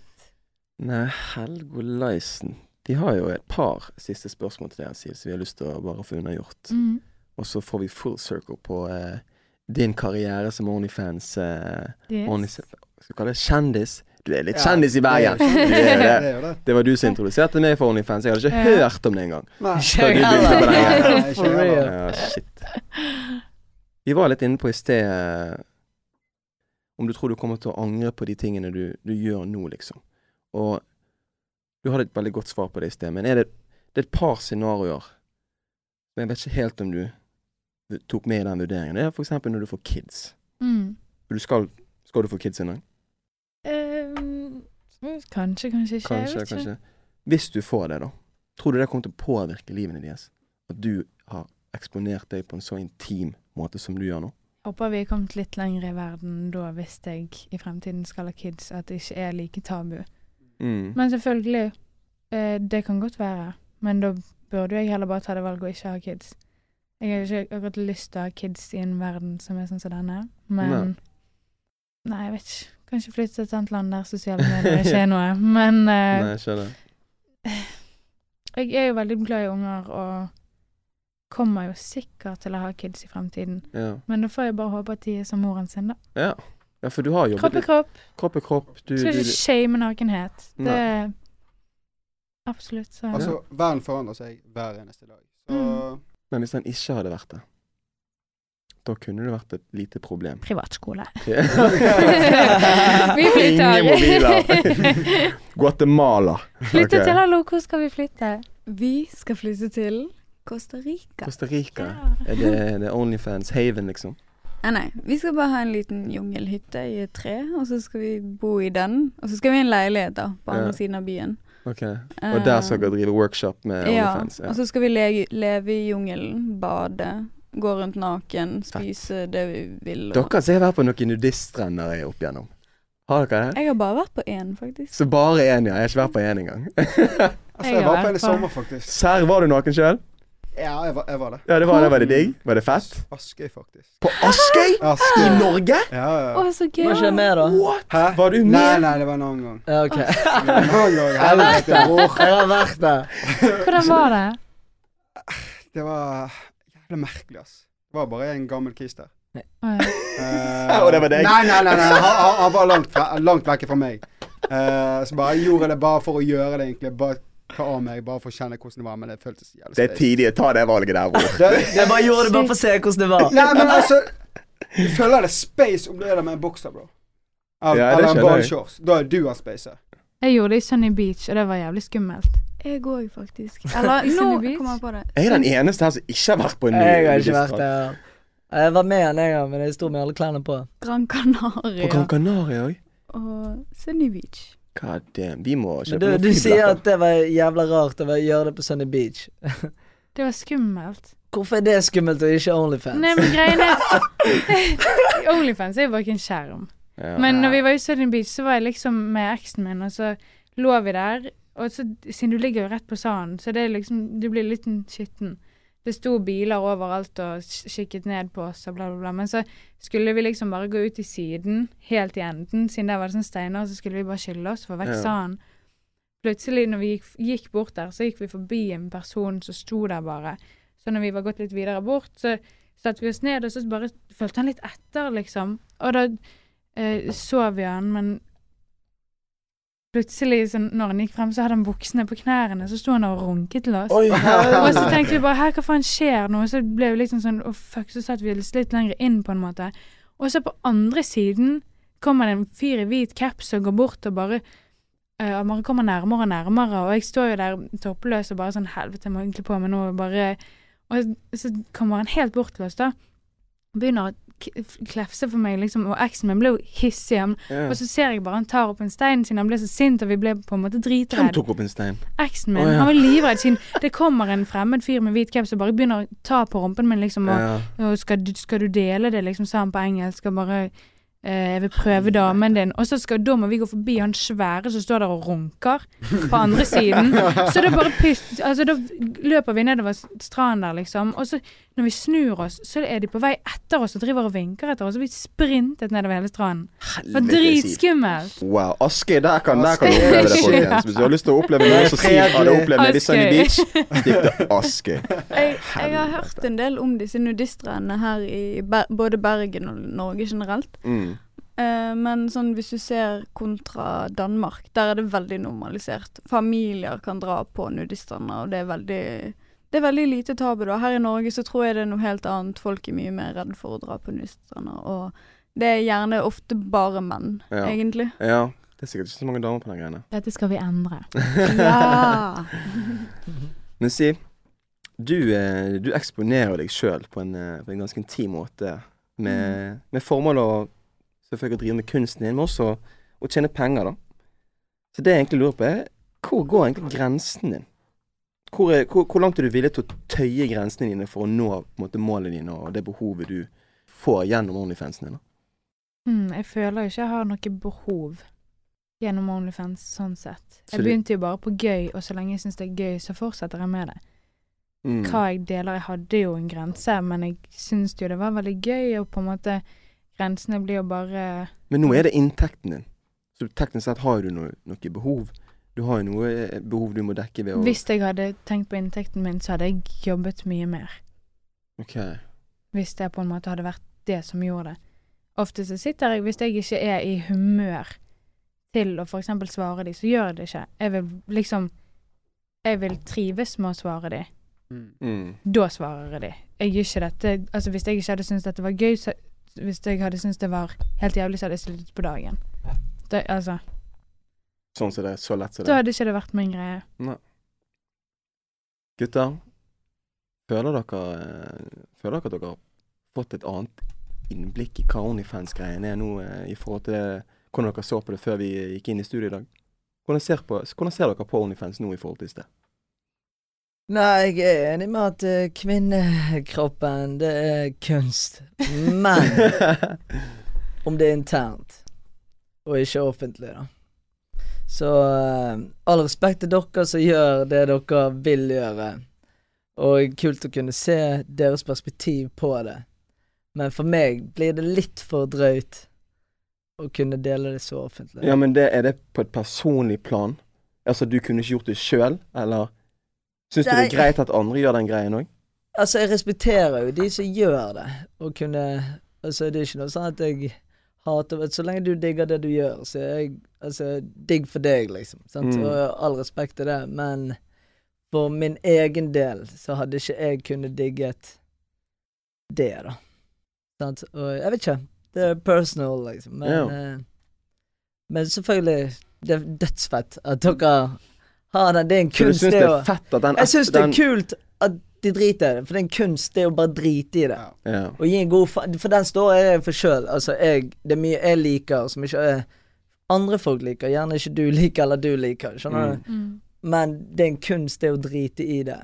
C: Nei, Helgolaisen De har jo et par siste spørsmål til deres side som vi har lyst til å bare få unnagjort.
D: Mm.
C: Og så får vi full circle på eh, din karriere som Onlyfans eh, Only,
D: Mm. Yes.
C: Skal vi kalle det kjendis? Du er litt
A: Ja,
C: kjendis i Bergen!
A: Det
D: er
C: Du er jo
D: jo
A: Det
C: det.
A: er jo det.
C: Det var du som introduserte meg for Onlyfans. Jeg hadde ikke
D: Ja.
C: hørt om det engang.
A: Nei.
C: Før du begynte på den.
A: Nei,
B: For
A: ikke heller.
B: real.
C: Ja, shit. Vi var litt inne på i sted eh, om du tror du kommer til å angre på de tingene du, du gjør nå, liksom. Og du hadde et veldig godt svar på det i sted, men er det, det er et par scenarioer Men jeg vet ikke helt om du tok med i den vurderingen. Det er for eksempel når du får kids.
D: Mm.
C: Du skal, skal du få kids en dag?
D: Eh, kanskje, kanskje ikke. jeg
C: Kanskje,
D: vet ikke.
C: kanskje. Hvis du får det, da. Tror du det kommer til å påvirke livene deres? At du har eksponert deg på en så intim måte som du gjør nå?
D: Håper vi er kommet litt lenger i verden da, hvis jeg i fremtiden skal ha kids, at det ikke er like tabu.
C: Mm.
D: Men selvfølgelig, eh, det kan godt være. Men da burde jo jeg heller bare ta det valget å ikke ha kids. Jeg har jo ikke akkurat lyst til å ha kids i en verden som er sånn som denne, men Nei,
C: Nei.
D: jeg vet ikke. Kanskje flytte til et annet land der sosiale medier ikke er noe. Men
C: Nei,
D: eh,
C: jeg skjønner.
D: jeg er jo veldig glad i unger og kommer jo sikkert til å ha kids i fremtiden.
C: Ja.
D: Men da får jeg bare håpe at de er som moren sin, da.
C: ja. Ja, for du har jobbet
D: Kropp er
C: litt.
D: kropp.
C: Kropp er kropp. Du, du,
D: Skal ikke shame nakenhet. Det
C: Nei.
D: Absolutt. Så.
A: Altså, verden forandrer seg hver eneste dag. Så
D: Mm.
C: Men hvis han ikke hadde vært det, da kunne det vært et lite problem.
D: Privatskole.
B: Vi
D: flytter.
C: Ingen mobiler. Guatemala.
D: Flytte
C: Ok.
D: til Hallo, hvor skal vi flytte?
E: Vi skal flytte til Costa Rica.
C: Costa Rica.
D: Ja.
C: Er det, er det Onlyfans Haven, liksom?
E: Nei, nei. Vi skal bare ha en liten jungelhytte i et tre, og så skal vi bo i den. Og så skal vi ha en leilighet da, på andre
C: Ja.
E: siden av byen. Eh,
C: Ok. Og
D: Eh.
C: der skal dere drive workshop med
E: ja,
C: Onlyfans? Ja.
E: Og så skal vi le leve i jungelen, bade, gå rundt naken, spise det vi vil. Og...
C: Dere ser vært på noen nudiststrender jeg er opp igjennom. Har dere det?
E: Jeg har bare vært på én, faktisk.
C: Så bare én, ja. Jeg har ikke vært på én engang.
A: altså, jeg var på en i
D: Jeg har
A: sommer, faktisk.
C: Serr, var du naken sjøl?
A: Ja, jeg var, jeg var det.
C: Ja, det var det. Var det digg? Var det fett?
A: Askøy, faktisk.
C: På Askøy? I
A: Askøy.
C: Norge?
A: Ja,
D: Å,
A: ja.
D: så gøy.
B: Må ikke jeg med, da?
C: What?
A: Hæ?
C: Var du med?
A: Nei, nei, det var en annen gang.
B: Ja, ok.
A: Det var En annen gang, helvete, bror.
B: Jeg har vært der.
D: Hvordan var det?
A: Det var jævlig merkelig, ass. Det var bare en gammel kis der.
D: Å, ja.
A: Eh,
C: Og det var deg?
A: Nei, nei, nei, nei. Han, han- han var langt, fra, langt vekk fra meg. Eh, så bare gjorde jeg det bare for å gjøre det, egentlig. Bare ta av meg, bare for å kjenne hvordan det var. Men det føltes jævlig
C: Det er
A: space.
C: tidlig. Ta det valget der, bror.
A: Det-
B: Jeg bare gjorde det bare for å se hvordan det var.
A: Nei, men altså Du føler det er space om du er der med en bokser, bro. Eller,
C: Ja, det
A: eller en
C: skjønner jeg.
A: barneshorts. Da er du av spacet.
D: Jeg gjorde det i Sunny Beach, og det var jævlig skummelt.
E: Jeg òg, faktisk. Eller
D: Sunny
E: nå
D: Beach?
E: kom jeg på det.
C: Jeg er den eneste her som ikke har vært på en ny
B: Jeg har ikke vært der. Jeg var med en gang, men jeg sto med alle klærne på.
E: Gran
C: På Gran
E: Canaria
C: Canaria òg?
E: og Sunny Beach.
C: God damn. Vi må
B: Men
C: kjøpe
B: du,
C: noen
B: du sier
C: flybilletter.
B: at det var jævla rart å være- gjøre det på Sunny Beach.
D: Det var skummelt.
B: Hvorfor er det skummelt og ikke Onlyfans?
D: Nei, men greiene Onlyfans er jo bare ikke en skjerm.
C: Ja.
D: Men når vi var i Southern Beach, så var jeg liksom med eksen min, og så lå vi der. Og så, siden du ligger jo rett på sanden, så det er liksom, du blir litt skitten. Det sto biler overalt og sk- kikket ned på oss og bla, bla, bla. Men så skulle vi liksom bare gå ut i siden, helt i enden, siden der var det sånn steiner, så skulle vi bare skylle oss for vekk
C: Ja.
D: sanden. Plutselig, når vi gikk, gikk bort der, så gikk vi forbi en person som sto der bare. Så når vi var gått litt videre bort, så satte vi oss ned, og så bare fulgte han litt etter, liksom. Og da eh, sov jo han, men plutselig, så når han gikk frem, så hadde han buksene på knærne, så sto han og runket til oss.
C: Oi,
D: Og så
C: helvete.
D: tenkte vi bare her, hva faen skjer nå? Og så ble vi liksom sånn, å fuck, så satt vi oss litt lenger inn på en måte. Og så på andre siden kommer det en fyr i hvit caps og går bort og bare eh, Han bare kommer nærmere og nærmere, og jeg står jo der toppløs og bare sånn helvete, jeg må egentlig på meg nå, bare Og så kommer han helt bort til oss, da. Begynner å k- klefse for meg, liksom, og eksen min ble jo hissig. Han,
C: Ja.
D: Og så ser jeg bare han tar opp en stein siden han ble så sint, og vi ble på en måte
C: Hvem
D: dritredd
C: tok opp en stein?
D: eksen min.
C: Å, ja.
D: Han var livredd siden det kommer en fremmed fyr med hvit caps og bare begynner å ta på rumpen min, liksom. Og,
C: Ja.
D: og skal, du, 'Skal du dele det', liksom, sa han på engelsk. Og bare eh, 'Jeg vil prøve damen din'. Og så skal da må vi gå forbi han svære som står der og runker på andre siden. Så da bare pyst Altså, da løper vi nedover stranden der, liksom. Og så Når vi snur oss, så er de på vei etter oss og driver og vinker etter oss. Og vi sprintet nedover hele stranden. Det var dritskummelt.
C: Wow. Askøy, der kan, der kan du
A: Askøy.
C: oppleve det, folkens. Hvis du har lyst til å oppleve noe som Siv hadde opplevd nede i Sunny
D: Askøy.
C: Beach, stikk til Askøy.
E: Jeg, jeg har hørt en del om disse nudistrendene her i Ber både Bergen og Norge generelt.
C: Mm.
E: Eh, men sånn, hvis du ser kontra Danmark, der er det veldig normalisert. Familier kan dra på nudiststrender, og det er veldig det er veldig lite tabu. da. Her i Norge så tror jeg det er noe helt annet. Folk er mye mer redd for å dra på nudiststrender. Og det er gjerne ofte bare menn,
C: Ja.
E: egentlig.
C: Ja. Det er sikkert ikke så mange damer på den greiene.
D: Dette skal vi endre.
E: Ja.
C: Men Siv, du, eh, du eksponerer deg sjøl på, en, eh, på en ganske intim måte. Med, med formål å selvfølgelig drive med kunsten din, men også å tjene penger, da. Så det jeg egentlig lurer på, er hvor går egentlig grensen din? Hvor, er, hvor, hvor langt er du villig til å tøye grensene dine for å nå på en måte, målene dine og det behovet du får gjennom OnlyFansen din? da?
D: Hmm, jeg føler jo ikke jeg har noe behov gjennom Onlyfans sånn sett.
C: Så
D: Jeg
C: du-
D: begynte jo bare på gøy, og så lenge jeg syns det er gøy, så fortsetter jeg med det.
C: Mm.
D: Hva jeg deler Jeg hadde jo en grense, men jeg syns jo det var veldig gøy, og på en måte Grensene blir jo bare
C: Men nå er det inntekten din. Så teknisk sett har du noe, noe behov. Du har jo noe eh, behov du må dekke ved å
D: Hvis jeg hadde tenkt på inntekten min, så hadde jeg jobbet mye mer.
C: Ok.
D: Hvis det på en måte hadde vært det som gjorde det. Ofte så sitter jeg, hvis jeg ikke er i humør til å f.eks. svare de, så gjør jeg det ikke. Jeg vil liksom Jeg vil trives med å svare de.
C: Mm.
D: Da svarer jeg de. Jeg gjør ikke dette Altså, hvis jeg ikke hadde syntes dette var gøy, så Hvis jeg hadde syntes det var helt jævlig, så hadde jeg sluttet på dagen. Da, altså,
C: Sånn som det er. Så lett som det
D: da
C: er.
D: hadde ikke det vært min greie.
C: Gutter, føler dere, eh, føler dere at dere har fått et annet innblikk i hva OnlyFans-greien er nå, eh, i forhold til det, hvordan dere så på det før vi gikk inn i studio i dag? Hvordan ser, på, hvordan ser dere på OnlyFans nå i forhold til i sted?
B: Nei, jeg er enig med at eh, kvinnekroppen, det er kunst. Men om det er internt, og ikke offentlig, da. Så eh, all respekt til dere som gjør det dere vil gjøre. Og kult å kunne se deres perspektiv på det. Men for meg blir det litt for drøyt å kunne dele det så offentlig.
C: Ja, men det, er det på et personlig plan? Altså, du kunne ikke gjort det sjøl, eller Syns du det er
B: Nei.
C: greit at andre gjør den greien òg?
B: Altså, jeg respekterer jo de som gjør det, og kunne Altså, det er ikke noe sånn at jeg hater Så lenge du digger det du gjør, så er jeg altså, digg for deg, liksom. Sant?
C: Mm.
B: Og all respekt til det, men for min egen del så hadde ikke jeg kunnet digget det, da. Sant? Og jeg vet ikke. Det er personal, liksom. Men,
C: Ja.
B: eh, men selvfølgelig, det er dødsfett at dere har den. Det er en
C: Så du syns
B: kunst,
C: det
B: det
C: er
B: å
C: fett at den
B: jeg syns det
C: den-
B: er kult at de driter i det, for det er en kunst, det er å bare drite i det.
A: Ja.
C: Ja.
B: Og gi en god faen, for den står jeg for sjøl. Altså, jeg, det er mye jeg liker som ikke eh, andre folk liker, gjerne ikke du liker eller du liker, skjønner
C: Mm.
B: du? Men det er en kunst, det å drite i det.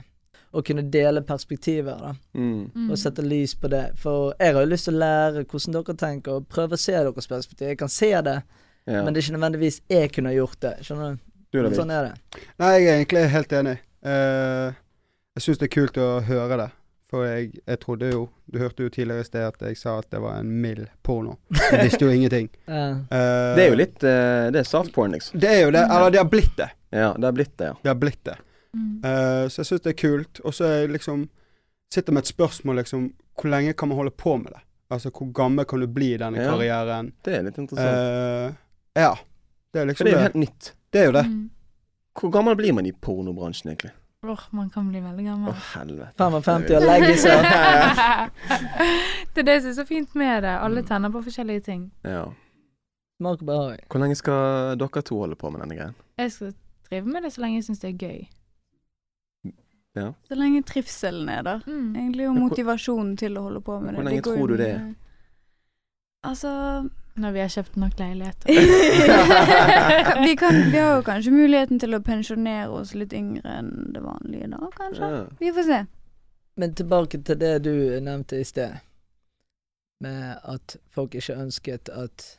B: Å kunne dele perspektiver, da,
C: Mm.
B: og sette lys på det. For jeg har jo lyst til å lære hvordan dere tenker, og prøve å se deres perspektiv. Jeg kan se det,
C: Ja.
B: men det er ikke nødvendigvis jeg kunne ha gjort det. Skjønner du?
C: Du er det
B: Sånn er det.
A: Nei, jeg er egentlig helt enig. Eh, jeg syns det er kult å høre det. For jeg, jeg trodde jo Du hørte jo tidligere i sted at jeg sa at det var en mild porno. Jeg visste jo ingenting.
B: Ja.
A: Eh,
C: Det er jo litt eh, Det er soft porn, liksom.
A: Det er jo det. Eller det har blitt det.
C: Ja, det har blitt det, ja.
A: Det har blitt det.
C: mm.
D: Mm.
A: Eh, så jeg syns det er kult. Og så er jeg liksom sitter med et spørsmål liksom Hvor lenge kan man holde på med det? Altså hvor gammel kan du bli i denne
C: Ja.
A: karrieren?
C: Det er litt interessant.
A: Eh, ja.
C: For
A: Det er
B: Eh,
A: liksom
C: det er jo
A: det.
C: helt nytt.
A: Det er jo det.
D: Mm.
C: Hvor gammel blir man i pornobransjen, egentlig?
D: Åh, man kan bli veldig
C: Å,
D: gammel.
C: helvete.
B: 55 og legge seg.
D: det er det som er så fint med det. Alle tenner på forskjellige ting.
C: Ja.
B: Smak og behag.
C: Hvor lenge skal dere to holde på med denne greien?
D: Jeg skal drive med det så lenge jeg syns det er gøy.
E: Så lenge trivselen er der.
D: Mm.
E: Egentlig og
C: Men hvor-
E: motivasjonen til å holde på med det.
C: Hvor
E: Det
C: lenge
E: går
C: tror
E: jo
C: du
E: mye-
C: det er?
E: Altså
D: Når vi har kjøpt nok leiligheter.
E: Kan- vi, kan, vi har jo kanskje muligheten til å pensjonere oss litt yngre enn det vanlige da, kanskje.
C: Ja.
E: Vi får se.
B: Men tilbake til det du nevnte i sted, med at folk ikke ønsket at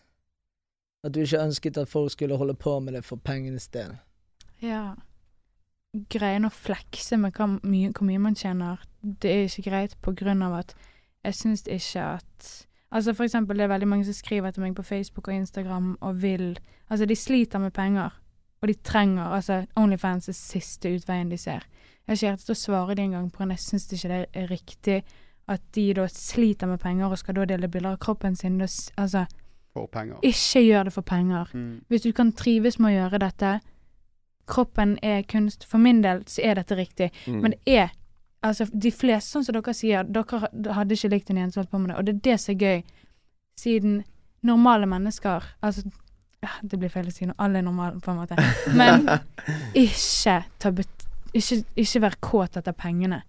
B: At du ikke ønsket at folk skulle holde på med det for pengenes del.
D: Ja. greien å flekse med hva mye, hvor mye man tjener, det er ikke greit på grunn av at jeg syns ikke at Altså for eksempel, det er veldig mange som skriver til meg på Facebook og Instagram og vil Altså, de sliter med penger, og de trenger Altså, Onlyfans er siste utveien de ser. Jeg har ikke hjerte til å svare de engang på, men jeg syns ikke det er riktig at de da sliter med penger og skal da dele bilder av kroppen sin. Da, s- altså,
A: for penger.
D: ikke gjør det for penger.
A: Mm.
D: Hvis du kan trives med å gjøre dette, kroppen er kunst. For min del så er dette riktig.
C: Mm.
D: Men det er Altså, de fleste, sånn som dere sier, dere ha- hadde ikke likt en jente som holdt på med det, og det er det som er gøy, siden normale mennesker Altså, ah, det blir feil å si når alle er normale, på en måte, men ikke ta bet... Ikke, ikke vær kåt etter pengene.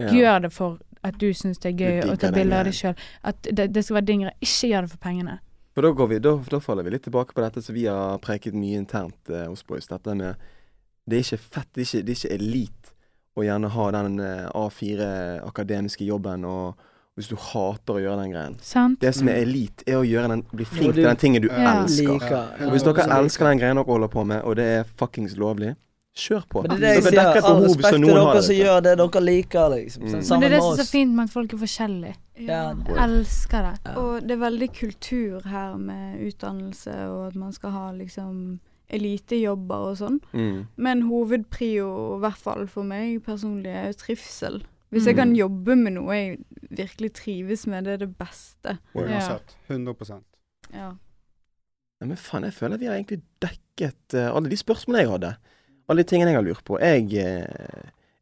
C: Ja.
D: Gjør det for at du syns det er gøy
C: Du
D: å ta
C: digger den
D: bilder
C: greien.
D: av deg sjøl. At det, det skal være din greie. Ikke gjør det for pengene.
C: For da, går vi, da, da faller vi litt tilbake på dette som vi har preket mye internt eh, hos boys. Dette med Det er ikke fett, det er ikke, det er ikke elite å gjerne ha den eh, A4-akademiske jobben, og hvis du hater å gjøre den greien.
D: Sant?
C: Det som er
A: Mm.
C: elite, er å gjøre den, bli flink
B: Når
C: til
B: du-
C: den tingen du
D: Ja.
C: elsker.
B: Liker.
A: Ja.
C: Og hvis dere elsker den greien dere holder på med, og det er fuckings lovlig, kjør på.
B: Men det er det
C: Dere
B: jeg sier.
C: dekker et
B: All
C: behov som
B: respekt til
C: noen har
B: dere
C: der
B: som
C: ute.
B: gjør det dere liker, liksom.
C: Mm.
B: Sånn,
D: Men det
B: sammen
D: er det
B: med
D: som er så
B: oss.
D: fint med at folk er forskjellige.
B: Ja.
D: Jeg elsker det.
B: Ja.
E: Og det er veldig kultur her med utdannelse og at man skal ha liksom elitejobber og sånn.
C: Mm.
E: Men hovedprio, i hvert fall for meg personlig, er jo trivsel. Hvis jeg
D: Mm.
E: kan jobbe med noe jeg virkelig trives med, det er det beste.
A: Uansett. 100
E: Ja.
C: Ja, men faen, jeg føler at vi har egentlig dekket eh, alle de spørsmålene jeg hadde. Alle de tingene jeg har lurt på. Jeg eh,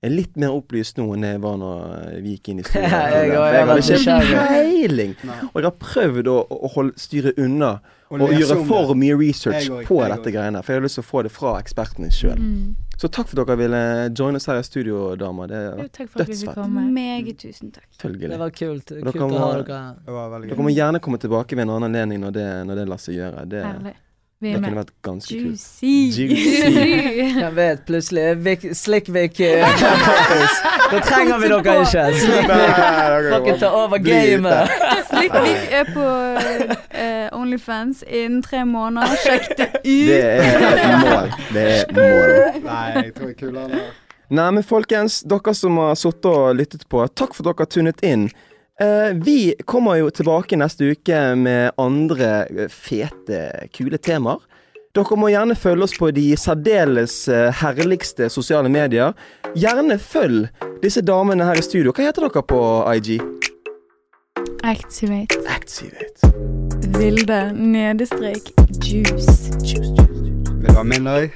C: er litt mer opplyst nå enn jeg var når vi gikk inn i studio.
B: Jeg
C: For
B: òg, jeg
C: jeg
B: var
C: hadde ikke
B: nysgjerrig.
C: peiling.
A: Nei.
C: Og jeg har prøvd å, å holde, styre unna og,
A: lese
C: gjøre
A: om
C: for
A: det.
C: mye research
A: Jeg òg,
C: på
A: jeg
C: dette
A: òg.
C: greiene. For jeg har lyst til å få det fra ekspertene sjøl.
D: Mm.
C: Så takk for at dere ville joine oss her i studio, damer. Det
D: Jo,
C: er
D: takk for at vi fikk
C: Dødsfett.
D: komme.
E: Meget tusen takk.
B: Det
C: selvfølgelig.
B: var kult.
C: dere
B: Kult å
C: må-
B: ha dere her.
A: Det var veldig
C: Dere
A: gøy.
C: må gjerne komme tilbake ved en annen anledning når det, når det lar seg gjøre. Det,
D: Herlig. Vi
C: det
D: er
C: kunne
D: med.
C: vært ganske kult.
E: Juicy!
C: Juicy.
B: Hvem vet, plutselig er Vic, Slick Vic eh, kompis. Da trenger vi dere ikke. Slick Vic fucking ta over gamet.
E: Slikkvik er på eh, Onlyfans innen tre måneder. Sjekk det
C: Det
E: ut!
C: er et mål. Det er et mål.
A: Nei, jeg tror jeg kuler det.
C: Nei, men folkens, dere som har sittet og lyttet på, takk for at dere har tunet inn. Eh, vi kommer jo tilbake neste uke med andre eh, fete, kule temaer. Dere må gjerne følge oss på de særdeles eh, herligste sosiale medier. Gjerne følg disse damene her i studio. Hva heter dere på IG?
D: Activate.
C: Activate.
E: Vilde nedestrek juice.
A: Vil du ha min øy?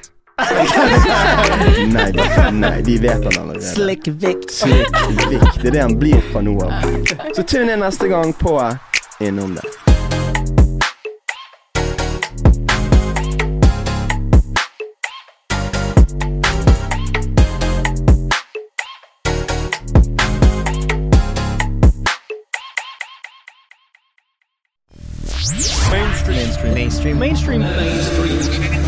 C: Nei, de- nei, de vet han allerede.
B: Slick Vic.
C: Slik Vik. Det er det han blir fra nå av. Så tune inn neste gang på Innom det.
I: mainstream mainstream mainstream mainstream mainstream